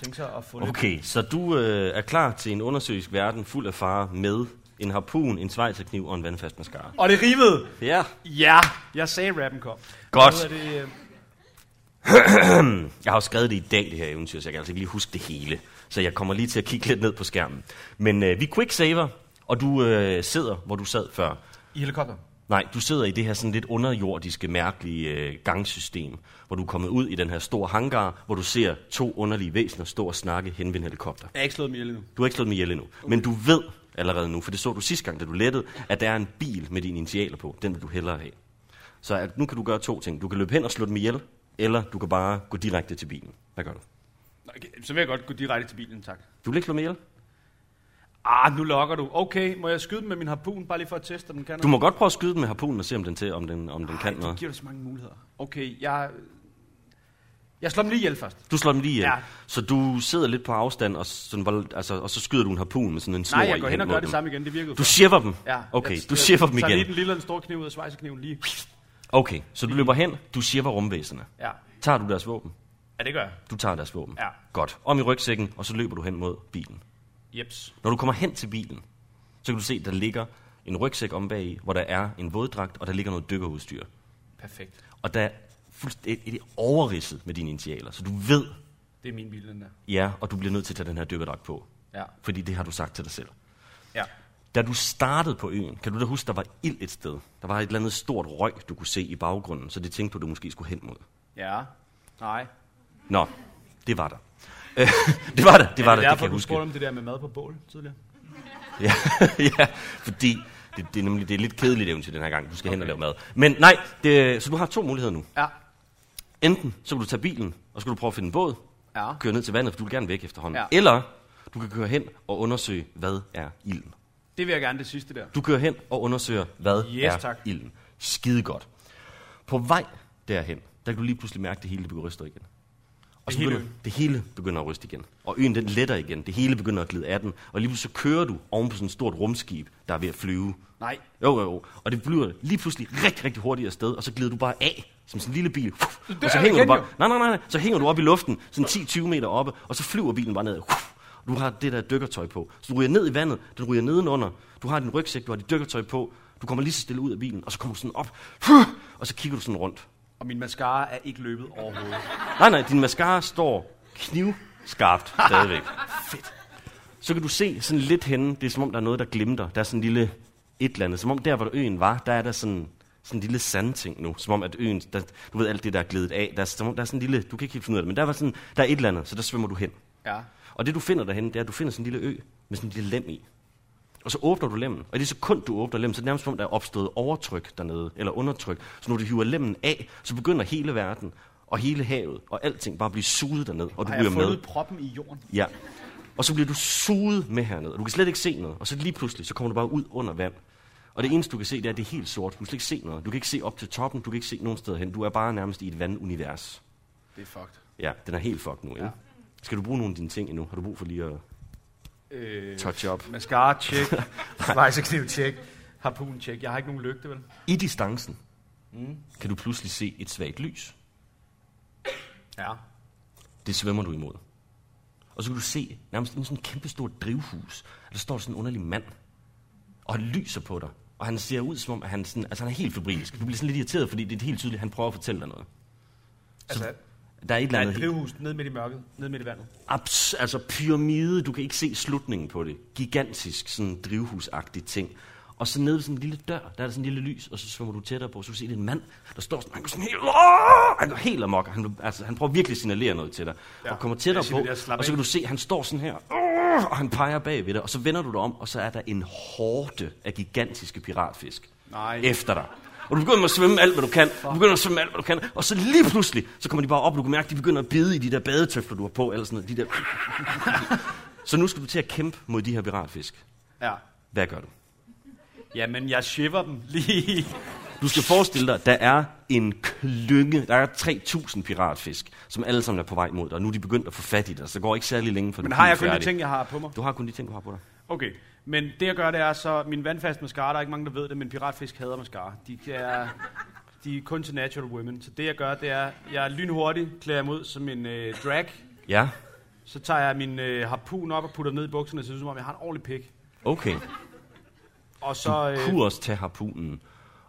Speaker 2: tænke sig at få lidt.
Speaker 1: Okay, så du øh, er klar til en undersøgisk verden fuld af farer med en harpun, en svejserkniv og en vandfast mascara.
Speaker 2: Og det rimede.
Speaker 1: Ja,
Speaker 2: Ja, jeg sagde, rappen kom.
Speaker 1: godt.
Speaker 2: Hvad hedder det, øh,
Speaker 1: Jeg har jo skrevet det i dag, det her eventyr, så jeg kan altså ikke lige huske det hele. Så jeg kommer lige til at kigge lidt ned på skærmen. Men øh, vi quicksaver, og du øh, sidder, hvor du sad før.
Speaker 2: I helikopter.
Speaker 1: Nej, du sidder i det her sådan lidt underjordiske, mærkelige øh, gangsystem, hvor du er kommet ud i den her store hangar, hvor du ser to underlige væsener stå og snakke hen ved en helikopter.
Speaker 2: Jeg har ikke slået mig ihjel endnu.
Speaker 1: Du har ikke slået dem ihjel endnu, men du ved allerede nu, for det så du sidste gang, da du lettede, at der er en bil med dine initialer på. Den vil du hellere have. Så øh, nu kan du gøre to ting. Du kan løbe hen og slå dem ihjel, eller du kan bare gå direkte til bilen. Hvad gør du?
Speaker 2: Nå, Okay, så vil jeg godt gå direkte til bilen, tak.
Speaker 1: Du vil ikke slå dem ihjel?
Speaker 2: Ah, nu lokker du. Okay, må jeg skyde dem med min harpun, bare lige for at teste, om den kan
Speaker 1: Du må godt prøve at skyde den med harpunen og se, om den, til, om den, om den kan
Speaker 2: noget. Ej, det
Speaker 1: noget.
Speaker 2: giver dig så mange muligheder. Okay, jeg... Jeg slår dem lige ihjel først.
Speaker 1: Du slår dem lige ihjel.
Speaker 2: Ja.
Speaker 1: Så du sidder lidt på afstand, og, sådan, hvor- altså, og så skyder du en harpun med sådan en snor
Speaker 2: Nej, jeg
Speaker 1: i
Speaker 2: går
Speaker 1: hen
Speaker 2: hen og
Speaker 1: mod
Speaker 2: gør det
Speaker 1: dem.
Speaker 2: samme igen, det virkede
Speaker 1: Du
Speaker 2: før.
Speaker 1: shiffer dem?
Speaker 2: Ja,
Speaker 1: Okay,
Speaker 2: jeg-
Speaker 1: du shiffer dem
Speaker 2: jeg Tager lige den
Speaker 1: igen.
Speaker 2: lille og den store kniv ud af svejserkniven lige.
Speaker 1: Okay, så du løber hen, du shiffer rumvæsenerne.
Speaker 2: Ja,
Speaker 1: Tager du deres våben?
Speaker 2: ja det gør jeg.
Speaker 1: Du tager deres våben.
Speaker 2: Ja.
Speaker 1: Godt. Om i rygsækken, og så løber du hen mod bilen.
Speaker 2: Jeps.
Speaker 1: Når du kommer hen til bilen, så kan du se, der ligger en rygsæk om bag i, hvor der er en våddragt, og der ligger noget dykkerudstyr.
Speaker 2: Perfekt.
Speaker 1: Og der er fuldstændig et, et overridset med dine initialer, så du ved,
Speaker 2: Det er min bil, den der.
Speaker 1: ja, og du bliver nødt til at tage den her dykkerdragt på.
Speaker 2: Ja.
Speaker 1: Fordi det har du sagt til dig selv.
Speaker 2: Ja.
Speaker 1: Da du startede på øen, kan du da huske, der var ild et sted. Der var et eller andet stort røg, du kunne se i baggrunden, så det tænkte du, du måske skulle hen mod.
Speaker 2: Ja. Nej.
Speaker 1: Nå, det var der. Øh, det var der, det var der, det
Speaker 2: derfor,
Speaker 1: kan jeg
Speaker 2: du
Speaker 1: huske.
Speaker 2: spurgte om det der med mad på bål tidligere.
Speaker 1: Ja, ja fordi det, det, er nemlig det er lidt kedeligt eventyr den her gang. Du skal okay. hen og lave mad. Men nej, det, så du har to muligheder nu.
Speaker 2: Ja.
Speaker 1: Enten så kan du tage bilen, og så kan du prøve at finde en båd,
Speaker 2: Ja.
Speaker 1: køre ned til vandet, for du vil gerne væk efterhånden.
Speaker 2: Ja.
Speaker 1: Eller du kan køre hen og undersøge, hvad er ilden.
Speaker 2: Det vil jeg gerne det sidste der.
Speaker 1: Du kører hen og undersøger, hvad
Speaker 2: Yes,
Speaker 1: er
Speaker 2: tak.
Speaker 1: ilden. Skide godt. På vej derhen, der kan du lige pludselig mærke, at det hele det begynder at ryste igen. Og så
Speaker 2: hele
Speaker 1: begynder, det hele begynder at ryste igen. Og øen den letter igen. Det hele begynder at glide af den. Og lige pludselig så kører du oven på sådan et stort rumskib, der er ved at flyve.
Speaker 2: Nej.
Speaker 1: Jo, jo, jo. Og det bliver lige pludselig rigtig, rigtig hurtigt afsted, og så glider du bare af, som sådan en lille bil. Og så
Speaker 2: er
Speaker 1: hænger
Speaker 2: igen
Speaker 1: du bare,
Speaker 2: jo.
Speaker 1: nej, nej, nej, nej, så hænger du op i luften, sådan 10-20 meter oppe, og så flyver bilen bare ned. Og Du har det der dykkertøj på. Så du ryger ned i vandet, den ryger nedenunder, du har din rygsæk, du har dit dykkertøj på, du kommer lige så stille ud af bilen, og så kommer du sådan op, og så kigger du sådan rundt.
Speaker 2: Og min mascara er ikke løbet overhovedet.
Speaker 1: Nej, nej, din mascara står knivskarpt stadigvæk. Fedt. Så kan du se sådan lidt henne, det er som om, der er noget, der glimter. Der er sådan en lille et eller andet. Som om der, hvor øen var, der er der sådan, sådan en lille sandting nu. Som om, at øen, der, du ved alt det, der er glidet af. Der er, som om, der er sådan en lille, du kan ikke helt finde ud af det, men der, var sådan, der er et eller andet, så der svømmer du hen.
Speaker 2: Ja.
Speaker 1: Og det, du finder derhen, det er, at du finder sådan en lille ø med sådan en lille lem i. Og så åbner du lemmen, og i det sekund, du åbner lemmen, så er det nærmest som om, der er opstået overtryk dernede, eller undertryk. Så når du hiver lemmen af, så begynder hele verden, og hele havet, og alting bare at blive suget derned, og du
Speaker 2: Har jeg
Speaker 1: bliver med.
Speaker 2: fundet proppen i jorden?
Speaker 1: Ja. Og så bliver du suget med hernede, og du kan slet ikke se noget. Og så lige pludselig, så kommer du bare ud under vand. Og det eneste, du kan se, det er, at det er helt sort. Du kan slet ikke se noget. Du kan ikke se op til toppen, du kan ikke se nogen steder hen. Du er bare nærmest i et vandunivers.
Speaker 2: Det er fucked.
Speaker 1: Ja, den er helt fucked nu, ikke? Ja. Skal du bruge nogle af dine ting endnu? Har du brug for lige at
Speaker 2: Øh,
Speaker 1: touch up?
Speaker 2: mascara, check. Svejsekniv, check. Harpun, check. Jeg har ikke nogen lygte, vel?
Speaker 1: I distancen mm. kan du pludselig se et svagt lys.
Speaker 2: Ja.
Speaker 1: Det svømmer du imod. Og så kan du se nærmest en sådan kæmpe stor drivhus. Og der står sådan en underlig mand. Og han lyser på dig. Og han ser ud som om, at han, sådan, altså han er helt febrilsk. Du bliver sådan lidt irriteret, fordi det er helt tydeligt, at han prøver at fortælle dig noget.
Speaker 2: Altså,
Speaker 1: Der er et eller
Speaker 2: der er et
Speaker 1: andet helt
Speaker 2: drivhus ned midt i mørket, ned midt i vandet.
Speaker 1: abs, altså pyramide, du kan ikke se slutningen på det. Gigantisk, sådan drivhusagtig ting. Og så nede ved sådan en lille dør, der er der sådan en lille lys, og så svømmer du tættere på, så du se, det er en mand, der står sådan, han går sådan helt, Åh! han går helt amok, og han, altså, han prøver virkelig at signalere noget til dig, ja, og kommer tættere
Speaker 2: jeg siger,
Speaker 1: på,
Speaker 2: det der, slap
Speaker 1: og så
Speaker 2: af.
Speaker 1: kan du se, han står sådan her, Åh! og han peger bag ved dig, og så vender du dig om, og så er der en horde af gigantiske piratfisk
Speaker 2: Nej.
Speaker 1: efter dig. Og du begynder at svømme alt, hvad du kan. Du begynder at svømme alt, hvad du kan. Og så lige pludselig, så kommer de bare op, og du kan mærke, at de begynder at bide i de der badetøfler, du har på, eller sådan noget. De der... så nu skal du til at kæmpe mod de her piratfisk.
Speaker 2: Ja.
Speaker 1: Hvad gør du?
Speaker 2: Jamen, jeg shiver dem lige.
Speaker 1: Du skal forestille dig, der er en klynge, der er 3.000 piratfisk, som alle sammen er på vej mod dig, og nu er de begyndt at få fat i dig, så det går ikke særlig længe, for
Speaker 2: Men
Speaker 1: du
Speaker 2: har
Speaker 1: er
Speaker 2: jeg kun de
Speaker 1: færdig.
Speaker 2: ting, jeg har på mig?
Speaker 1: Du har kun de ting, du har på dig.
Speaker 2: Okay, men det jeg gør, det er så, min vandfaste mascara, der er ikke mange, der ved det, men piratfisk hader mascara. De er, de er kun til natural women. Så det jeg gør, det er, jeg er lynhurtig, klæder mig ud som en øh, drag,
Speaker 1: Ja,
Speaker 2: så tager jeg min øh, harpun op og putter den ned i bukserne, så det ser ud som om, jeg har en ordentlig pik.
Speaker 1: okay.
Speaker 2: Og så, øh,
Speaker 1: Kunne også tage harpunen,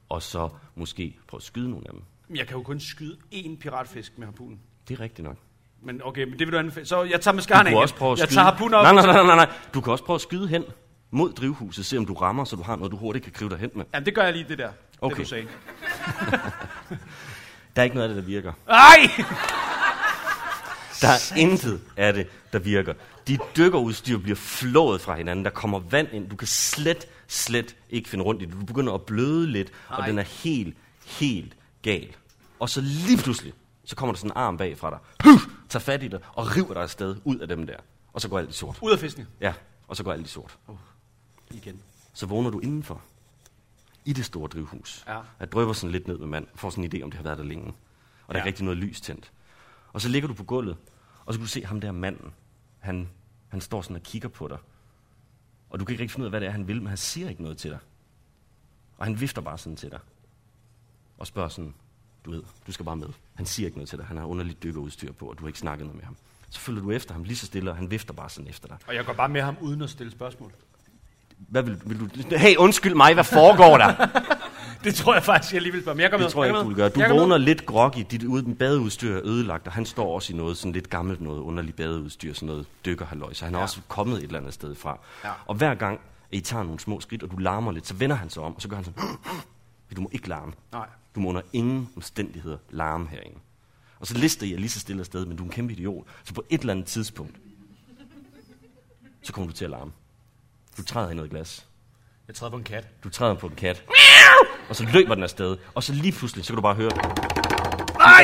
Speaker 1: og så måske prøve at skyde nogle af dem.
Speaker 2: jeg kan jo kun skyde én piratfisk med harpunen.
Speaker 1: Det er rigtigt nok.
Speaker 2: Men okay, men det vil du anbefale. Så jeg tager
Speaker 1: Du
Speaker 2: mascaraen
Speaker 1: kunne også prøve at
Speaker 2: jeg
Speaker 1: skyde.
Speaker 2: tager harpunen op.
Speaker 1: Nej, nej, nej, nej, nej. Du kan også prøve at skyde hen mod drivhuset, se om du rammer, så du har noget, du hurtigt kan krive dig hen med.
Speaker 2: Jamen, det gør jeg lige det der, okay.
Speaker 1: Okay.
Speaker 2: det du sagde.
Speaker 1: Der er ikke noget af det, der virker.
Speaker 2: Ej!
Speaker 1: Der er intet af det, der virker. Dit dykkerudstyr bliver flået fra hinanden. Der kommer vand ind. Du kan slet, slet ikke finde rundt i det. Du begynder at bløde lidt, Ej. og den er helt, helt gal. Og så lige pludselig, så kommer der sådan en arm bag fra dig. Hyf! Tager fat i dig og river dig afsted ud af dem der. Og så går alt i sort.
Speaker 2: Ud af fiskene.
Speaker 1: Ja, og så går alt i sort.
Speaker 2: Igen.
Speaker 1: så vågner du indenfor i det store drivhus.
Speaker 2: Ja.
Speaker 1: Jeg drøber sådan lidt ned med mand, får sådan en idé om, det har været der længe. Og der er
Speaker 2: Ja.
Speaker 1: ikke rigtig noget lys tændt. Og så ligger du på gulvet, og så kan du se ham der manden. Han, han står sådan og kigger på dig. Og du kan ikke rigtig finde ud af, hvad det er, han vil, men han siger ikke noget til dig. Og han vifter bare sådan til dig. Og spørger sådan, du ved, du skal bare med. Han siger ikke noget til dig, han har underligt dykkerudstyr på, og du har ikke snakket noget med ham. Så følger du efter ham lige så stille, og han vifter bare sådan efter dig.
Speaker 2: Og jeg går bare med ham uden at stille spørgsmål.
Speaker 1: Hvad vil, vil du... Hey, undskyld mig, hvad foregår der?
Speaker 2: Det tror jeg faktisk, jeg lige vil spørge. Men jeg går med.
Speaker 1: Det tror jeg
Speaker 2: går
Speaker 1: ikke, du vil
Speaker 2: med.
Speaker 1: gøre. Du
Speaker 2: Jeg går med.
Speaker 1: vågner lidt groggy. Dit ud- badeudstyr er ødelagt, og han står også i noget sådan lidt gammelt noget, underligt badeudstyr, sådan noget dykkerhalløj. Så han er også kommet et eller andet sted fra.
Speaker 2: Ja.
Speaker 1: Og hver gang, at I tager nogle små skridt, og du larmer lidt, så vender han sig om, og så gør han sådan, du må ikke larme.
Speaker 2: Nej.
Speaker 1: Du må under ingen omstændigheder larme herinde. Og så lister jeg lige så stille afsted, men du er en kæmpe idiot. Så på et eller andet tidspunkt, så kommer du til at larme. Du træder i noget glas.
Speaker 2: Jeg træder på en kat.
Speaker 1: Du træder på en kat. Og så løber den afsted. Og så lige pludselig, så kan du bare høre. over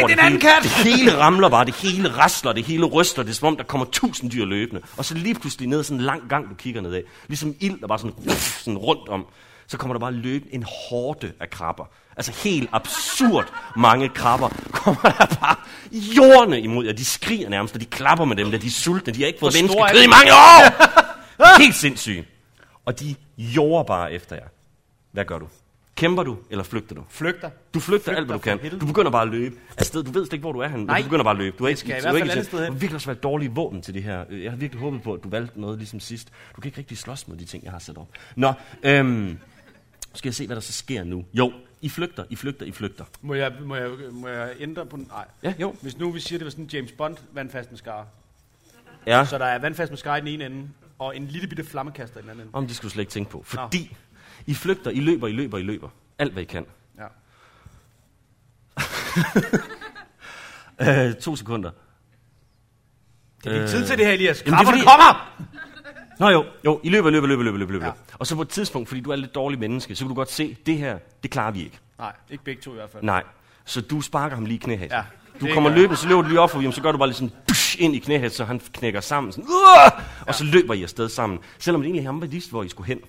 Speaker 1: det, det hele. Kat. Det hele ramler bare, det hele rasler, det hele ryster, det er som om, der kommer tusind dyr løbende. Og så lige pludselig ned sådan en lang gang, du kigger nedad. Ligesom ild, der bare sådan, ruff, sådan rundt om. Så kommer der bare løbende en hårde af krabber. Altså helt absurd mange krabber kommer der bare jordene imod jer. De skriger nærmest, og de klapper med dem, der de er sultne. De har ikke fået
Speaker 2: Hvor store er
Speaker 1: menneskekød i
Speaker 2: de?
Speaker 1: mange år! Helt sindssygt. Og de jorder bare efter jer. Hvad gør du? Kæmper du, eller flygter du?
Speaker 2: Flygter.
Speaker 1: Du flygter, flygter alt, hvad du
Speaker 2: for
Speaker 1: kan.
Speaker 2: helvede.
Speaker 1: Du begynder bare at løbe. Afsted, du ved slet ikke, hvor du er henne. men
Speaker 2: Nej.
Speaker 1: Du begynder bare at løbe. Du er ikke,
Speaker 2: skal i
Speaker 1: du
Speaker 2: hvert
Speaker 1: er
Speaker 2: fald
Speaker 1: ikke
Speaker 2: andet
Speaker 1: til-
Speaker 2: sted hen.
Speaker 1: Du har virkelig også været dårlige våben til det her. Øh, Jeg har virkelig håbet på, at du valgte noget ligesom sidst. Du kan ikke rigtig slås med de ting, jeg har sat op. Nå, øhm, skal jeg se, hvad der så sker nu? Jo, I flygter, I flygter, I flygter.
Speaker 2: Må jeg, må jeg, må jeg ændre på... Nej.
Speaker 1: Ja, jo.
Speaker 2: Hvis nu vi siger, det var sådan James Bond, vandfast mascara.
Speaker 1: Ja,
Speaker 2: Så der er vandfast mascara i den ene ende, og en lille bitte flammekaster i den anden ende.
Speaker 1: om det skulle du slet ikke tænke på. Fordi I flygter, I løber, I løber, I løber. Alt, hvad I kan.
Speaker 2: Ja.
Speaker 1: Øh, to sekunder.
Speaker 2: Det er øh... tid til det her, Elias.
Speaker 1: Jamen, det er
Speaker 2: Krabberne
Speaker 1: fordi-
Speaker 2: kommer!
Speaker 1: Nå jo, jo, I løber, løber, løber, løber, løber, løber. Ja.
Speaker 2: Ja.
Speaker 1: Og så på et tidspunkt, fordi du er lidt dårlig menneske, så kan du godt se, det her, det klarer vi ikke.
Speaker 2: Nej, ikke begge to i hvert fald.
Speaker 1: Nej. Så du sparker ham lige i knæhæs.
Speaker 2: Ja.
Speaker 1: Du
Speaker 2: Det
Speaker 1: kommer
Speaker 2: gør jeg.
Speaker 1: løbende, så løber du lige op for ham, så gør du bare lige sådan push, ind i knæhæs, så han knækker sammen. Sådan, "Uah!" og så løber I afsted sammen. Selvom det egentlig ham vidste, hvor I skulle hen.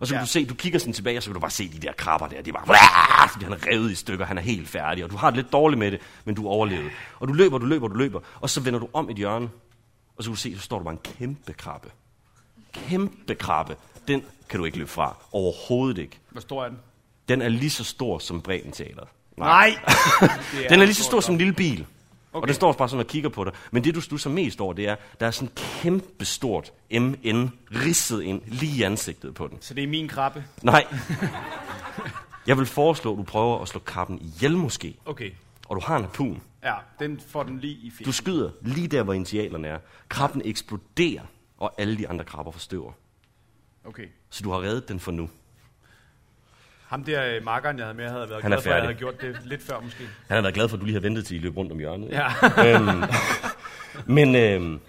Speaker 1: Og så kan
Speaker 2: Ja.
Speaker 1: du se, du kigger sådan tilbage, og så kan du bare se de der krabber der. De er bare, "Wah!" så bliver han revet i stykker, han er helt færdig. Og du har det lidt dårligt med det, men du overlevede. Og du løber, du løber, du løber. Og så vender du om et hjørne, og så kan du se, så står der bare en kæmpe krabbe. Kæmpe krabbe. Den kan du ikke løbe fra. Overhovedet ikke.
Speaker 2: Hvor stor er den?
Speaker 1: Den er lige så stor som Bremen Teateret.
Speaker 2: Det
Speaker 1: Den er lige
Speaker 2: en
Speaker 1: så
Speaker 2: stor
Speaker 1: stor som en lille bil. Okay.
Speaker 2: Okay.
Speaker 1: Og den står bare sådan og kigger på dig. Men det, du stusser mest over, det er, der er sådan kæmpe stort MN ridset ind lige i ansigtet på den.
Speaker 2: Så det er min krabbe.
Speaker 1: Nej. Jeg vil foreslå, at du prøver at slå krabben ihjel måske.
Speaker 2: Okay.
Speaker 1: Og du har en harpun.
Speaker 2: Ja, den får den lige i
Speaker 1: Du
Speaker 2: fint.
Speaker 1: skyder lige der, hvor initialerne er. Krabben eksploderer, og alle de andre krabber forstøver.
Speaker 2: Okay.
Speaker 1: Så du har reddet den for nu.
Speaker 2: Ham der øh, makkeren, jeg havde med, havde været
Speaker 1: Han er
Speaker 2: glad for, at jeg
Speaker 1: færdig.
Speaker 2: havde gjort det lidt før måske.
Speaker 1: Han har været glad for, at du lige har ventet til I løb rundt om hjørnet.
Speaker 2: Ja.
Speaker 1: øhm, men øhm,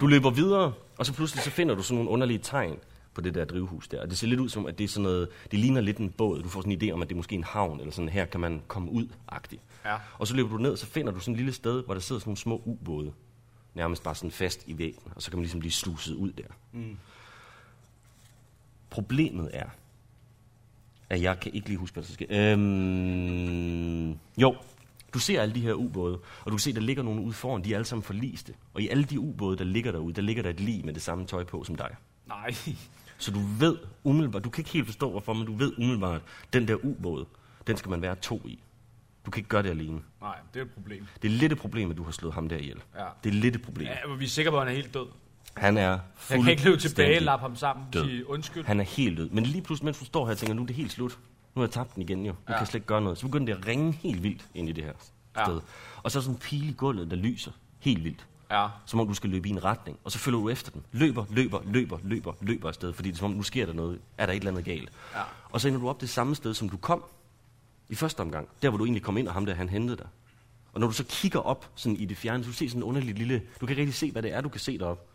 Speaker 1: du løber videre, og så pludselig så finder du sådan nogle underlige tegn på det der drivhus der. Og det ser lidt ud som, at det er sådan noget, det ligner lidt en båd. Du får sådan en idé om, at det er måske en havn, eller sådan, her kan man komme ud-agtigt.
Speaker 2: Ja.
Speaker 1: Og så løber du ned, og så finder du sådan et lille sted, hvor der sidder sådan nogle små ubåde. Nærmest bare sådan fast i væggen, og så kan man ligesom blive sluset ud der. Mm. Problemet er, at jeg kan ikke lige huske, hvad der så sker. Øhm, jo, du ser alle de her ubåde, og du kan se, der ligger nogle ude foran, de er alle sammen forliste. Og i alle de ubåde, der ligger derude, der ligger der et lig med det samme tøj på som dig.
Speaker 2: Nej.
Speaker 1: Så du ved umiddelbart, du kan ikke helt forstå hvorfor, men du ved umiddelbart, at den der ubåd, den skal man være to i. Du kan ikke gøre det alene.
Speaker 2: Nej, det er et problem.
Speaker 1: Det er lidt et problem, at du har slået ham der ihjel.
Speaker 2: Ja.
Speaker 1: Det er lidt et problem.
Speaker 2: Ja, men vi er sikre på, at han er helt død.
Speaker 1: Han er
Speaker 2: Jeg kan ikke løbe tilbage
Speaker 1: fuldstændig-
Speaker 2: og lappe ham sammen
Speaker 1: død.
Speaker 2: og sige undskyld.
Speaker 1: Han er helt død. Men lige pludselig, mens du står her, tænker, nu er det helt slut. Nu har jeg tabt den igen jo. Nu ja. kan jeg slet ikke gøre noget. Så begynder det at ringe helt vildt ind i det her
Speaker 2: Ja.
Speaker 1: sted. Og så er der sådan en pil i gulvet, der lyser helt vildt.
Speaker 2: Ja.
Speaker 1: Som om du skal løbe i en retning. Og så følger du efter den. Løber, løber, løber, løber, løber afsted. Fordi det er som om, nu sker der noget. Er der et eller andet galt. Ja. Og så ender du op det samme sted, som du kom. I første omgang. Der, hvor du egentlig kom ind, og ham der, han hentede dig. Og når du så kigger op sådan i det fjerne, så du ser sådan en underlig lille... Du kan ikke rigtig se, hvad det er, du kan se derop.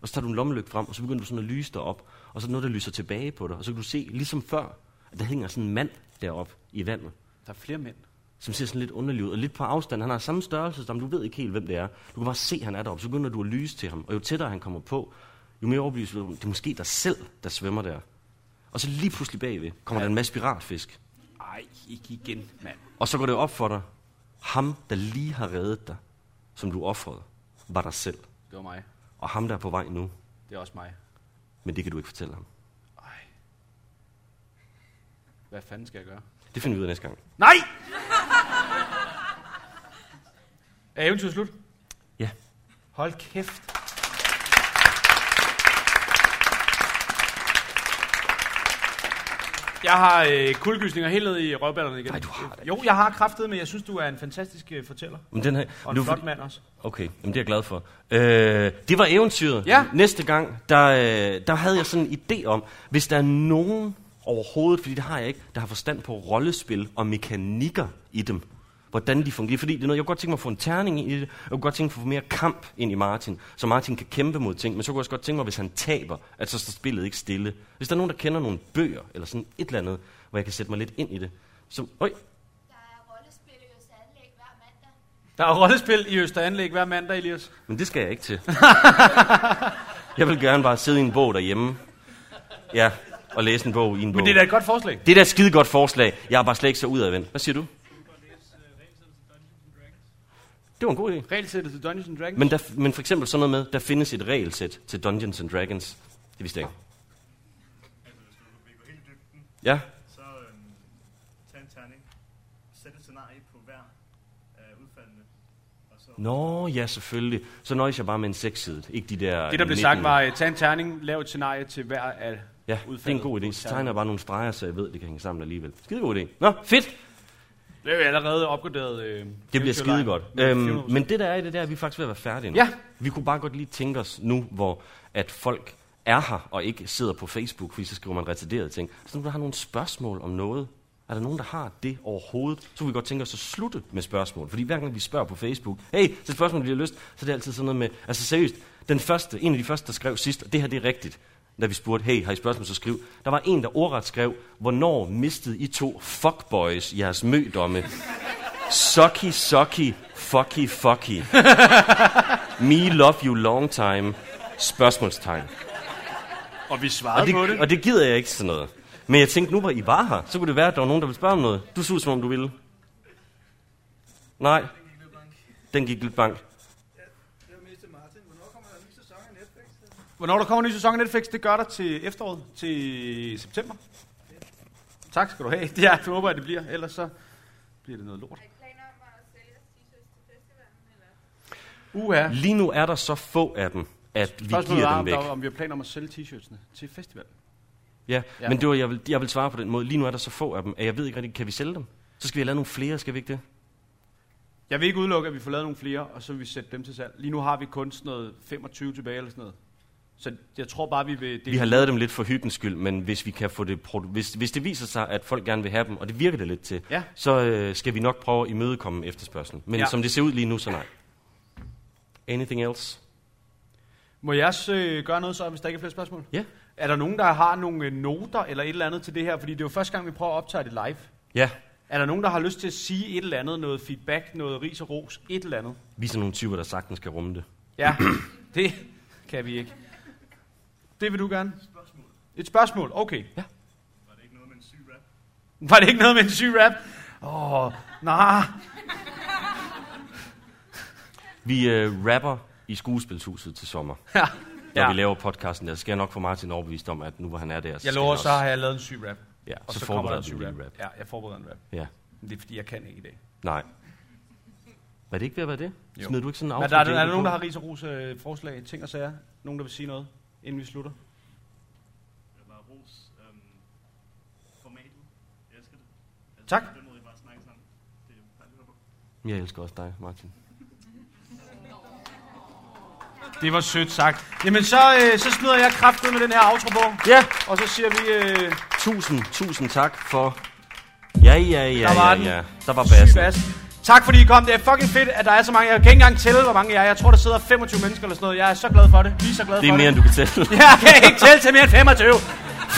Speaker 1: Og så tager du en lommelygte frem, og så begynder du sådan at lyse derop, og så er der noget, der lyser tilbage på dig. Og så kan du se, ligesom før, at der hænger sådan en mand derop i vandet,
Speaker 2: Der er flere mænd.
Speaker 1: som ser sådan lidt underlig ud. Og lidt på afstand, han har samme størrelse som, du ved ikke helt, hvem det er. Du kan bare se, at han er deroppe, så begynder du at lyse til ham. Og jo tættere han kommer på, jo mere overbevist bliver du om, det er måske dig selv, der svømmer der. Og så lige pludselig bagved kommer ja. der en masse piratfisk.
Speaker 2: Nej, ikke igen, mand.
Speaker 1: Og så går det op for dig, ham, der lige har reddet dig, som du offrede, var dig selv.
Speaker 2: Det var mig.
Speaker 1: Og ham, der er på vej nu,
Speaker 2: Det er også mig.
Speaker 1: men det kan du ikke fortælle ham.
Speaker 2: Ej. Hvad fanden skal jeg gøre?
Speaker 1: Det finder vi ud af næste gang.
Speaker 2: Nej! Er eventyret slut?
Speaker 1: Ja.
Speaker 2: Hold kæft. Jeg har øh, kuldegysninger helt ned i røvballerne igen.
Speaker 1: Nej, du har det.
Speaker 2: Jo, jeg har kraftet, men jeg synes, du er en fantastisk øh, fortæller.
Speaker 1: Men den her,
Speaker 2: Og
Speaker 1: nu-
Speaker 2: en flot mand også.
Speaker 1: Okay, jamen det er jeg glad for. Øh, det var eventyret.
Speaker 2: Ja.
Speaker 1: Næste gang, der, øh, der havde jeg sådan en idé om, hvis der er nogen overhovedet, fordi det har jeg ikke, der har forstand på rollespil og mekanikker i dem, hvordan de fungerer. Fordi det er noget, jeg kunne godt tænke mig at få en terning ind i det, jeg kunne godt tænke mig at få mere kamp ind i Martin, så Martin kan kæmpe mod ting, men så kunne jeg også godt tænke mig, hvis han taber, at så står spillet ikke stille. Hvis der er nogen, der kender nogle bøger, eller sådan et eller andet, hvor jeg kan sætte mig lidt ind i det, så, øj,
Speaker 8: Der er rollespil i Øs Anlæg hver mandag.
Speaker 2: Der er rollespil i Østeranlæg hver mandag, Elias.
Speaker 1: Men det skal jeg ikke til. jeg vil gerne bare sidde i en bog derhjemme. Ja, og læse en bog i en bog.
Speaker 2: Men det er da et godt forslag.
Speaker 1: det er da et skide godt forslag. Jeg er bare slet ikke så udadvendt. Hvad siger du? Det var en god idé.
Speaker 2: Regelsættet til Dungeons and Dragons.
Speaker 1: Men, der, men for eksempel sådan noget med, der findes et regelsæt til Dungeons and Dragons. Det vidste jeg ikke. Ja,
Speaker 9: Så øhm, tag en terning, sæt et scenarie på hver af udfaldene, og så...
Speaker 1: Nå, ja, selvfølgelig. Så nøjes jeg bare med en seksside. Ikke de der...
Speaker 2: det, der blev
Speaker 1: 19.
Speaker 2: sagt, var, øh, tag en terning, lav et scenarie til hver af
Speaker 1: Ja, det er en
Speaker 2: udfaldet
Speaker 1: god idé.
Speaker 2: på
Speaker 1: Så
Speaker 2: terningen.
Speaker 1: tegner jeg bare nogle streger, så jeg ved, det kan hænge sammen alligevel. Skide god idé. Nå, fedt.
Speaker 2: Det er jo allerede opgraderet. Øh,
Speaker 1: Det bliver
Speaker 2: eventyrlejen.
Speaker 1: skide godt.
Speaker 2: Med
Speaker 1: Øhm,
Speaker 2: 400%.
Speaker 1: men det der er i det der, vi er faktisk ved at være færdige nu.
Speaker 2: Ja.
Speaker 1: Vi kunne bare godt lige tænke os nu, hvor at folk er her og ikke sidder på Facebook, fordi så skriver man retarderede ting. Så nogen, der har nogle spørgsmål om noget. Er der nogen, der har det overhovedet? Så kunne vi godt tænke os at slutte med spørgsmål. Fordi hver gang vi spørger på Facebook, hey, så et spørgsmål, vi har lyst, så er det altid sådan noget med, altså seriøst, den første, en af de første, der skrev sidst, og det her det er rigtigt, da vi spurgte, hey, har I spørgsmål, så skriv. Der var en, der ordret skrev, hvornår mistede I to fuckboys jeres mødomme? Sucky, sucky, fucky, fucky. Me love you long time. Spørgsmålstegn.
Speaker 2: Og vi svarede
Speaker 1: Og
Speaker 2: på
Speaker 1: det,
Speaker 2: det.
Speaker 1: og det gider jeg ikke sådan noget. Men jeg tænkte, nu hvor I var her, så kunne det være, at der var nogen, der ville spørge om noget. Du så ud, som om du ville. Nej. Den gik lidt bank.
Speaker 2: Hvornår der kommer en ny sæson af Netflix, det gør der til efteråret, til september. Tak skal du have. Ja, jeg håber, at det bliver. Ellers så bliver det noget lort.
Speaker 8: I planer om at sælge jeres t-shirts til festivalen, eller?
Speaker 2: Uha.
Speaker 1: Lige nu er der så få af dem, at vi
Speaker 2: Spørgsmålet er,
Speaker 1: giver
Speaker 2: om,
Speaker 1: dem væk.
Speaker 2: der, om vi har planer om at sælge t-shirtsene til festivalen.
Speaker 1: Ja,
Speaker 2: Ja.
Speaker 1: men det var, jeg, vil, jeg vil svare på den måde. Lige nu er der så få af dem, at jeg ved ikke rigtig, kan vi sælge dem? Så skal vi have lavet nogle flere, skal vi ikke det?
Speaker 2: Jeg vil ikke udelukke, at vi får lavet nogle flere, og så vil vi sætte dem til salg. Lige nu har vi kun sådan noget 25 tilbage eller sådan noget. Så jeg tror bare, vi vil...
Speaker 1: Vi har lavet dem lidt for hyggens skyld, men hvis, vi kan få det produ- hvis, hvis det viser sig, at folk gerne vil have dem, og det virker det lidt til,
Speaker 2: Ja.
Speaker 1: så øh, skal vi nok prøve at imødekomme efterspørgselen. Men
Speaker 2: Ja.
Speaker 1: ja. som det ser ud lige nu, så nej. Anything else?
Speaker 2: Må jeg også øh, gøre noget så, hvis der ikke er flere spørgsmål?
Speaker 1: Ja.
Speaker 2: Er der nogen, der har nogle øh, noter eller et eller andet til det her? Fordi det er jo første gang, vi prøver at optage det live.
Speaker 1: Ja,
Speaker 2: Er der nogen, der har lyst til at sige et eller andet? Noget feedback, noget ris og ros, et eller andet?
Speaker 1: vi er sådan nogle typer, der sagtens kan rumme det.
Speaker 2: Ja, det kan vi ikke. Det vil du gerne? Et spørgsmål. Okay. Ja.
Speaker 9: Var det ikke noget med en syg rap?
Speaker 2: Var det ikke noget med en syg rap? Åh, oh, nej.
Speaker 1: Vi øh, rapper i skuespilshuset til sommer,
Speaker 2: Ja.
Speaker 1: når ja. vi laver podcasten der. Så skal jeg nok få Martin overbevist om, at nu hvor han er der,
Speaker 2: Jeg
Speaker 1: skal
Speaker 2: lover,
Speaker 1: han
Speaker 2: så har jeg lavet en syg rap.
Speaker 1: Ja,
Speaker 2: Og
Speaker 1: så, så
Speaker 2: så, kommer der
Speaker 1: forbereder
Speaker 2: en syg
Speaker 1: du lige
Speaker 2: rap.
Speaker 1: rap.
Speaker 2: Ja, jeg forbereder en rap.
Speaker 1: Ja,
Speaker 2: Men Det er fordi, jeg kan ikke i dag.
Speaker 1: nej. Var det ikke ved at være det?
Speaker 2: Jo.
Speaker 1: Smed du ikke sådan en
Speaker 2: Men der, er,
Speaker 1: outro
Speaker 2: er der nogen,
Speaker 1: på?
Speaker 2: der har ris og ros øh, forslag, ting og sager? Nogen, der vil sige noget, inden vi slutter?
Speaker 9: Jeg var ros. Øhm, formatet. Jeg elsker det. Altså,
Speaker 2: Tak.
Speaker 9: Den måde, I bare snakker sammen. Det er dejligt at høre på.
Speaker 1: Jeg elsker også dig, Martin.
Speaker 2: Det var sødt sagt. Jamen, så, øh, så smider jeg kraftet med den her outro på,
Speaker 1: Ja,
Speaker 2: og så siger vi... Øh,
Speaker 1: Tusind, tusind tak for... Ja, ja, ja,
Speaker 2: Der var
Speaker 1: ja,
Speaker 2: den.
Speaker 1: ja. Der var
Speaker 2: Syg
Speaker 1: bassen.
Speaker 2: bas. Tak fordi I kom. Det er fucking fedt, at der er så mange. Jeg kan ikke engang tælle, hvor mange jeg er. Jeg tror, der sidder 25 mennesker eller sådan noget. Jeg er så glad for det. Vi er så glad
Speaker 1: Det
Speaker 2: for
Speaker 1: er mere, end
Speaker 2: det.
Speaker 1: du kan tælle.
Speaker 2: Jeg kan ikke tælle til mere end 25.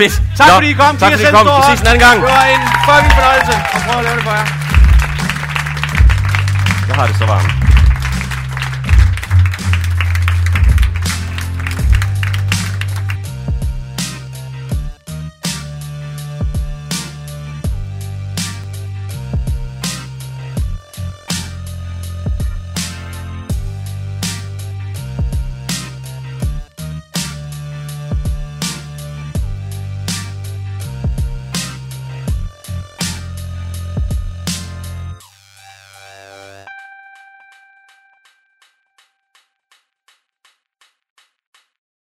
Speaker 1: Fedt.
Speaker 2: Tak
Speaker 1: Nå,
Speaker 2: fordi I kom.
Speaker 1: Tak
Speaker 2: Giv jer
Speaker 1: fordi I
Speaker 2: selv
Speaker 1: kom.
Speaker 2: stor
Speaker 1: Vi ses en
Speaker 2: hånd.
Speaker 1: anden gang.
Speaker 2: Det var en fucking fornøjelse. Og prøv at lave det for jer.
Speaker 1: Jeg har det så varmt.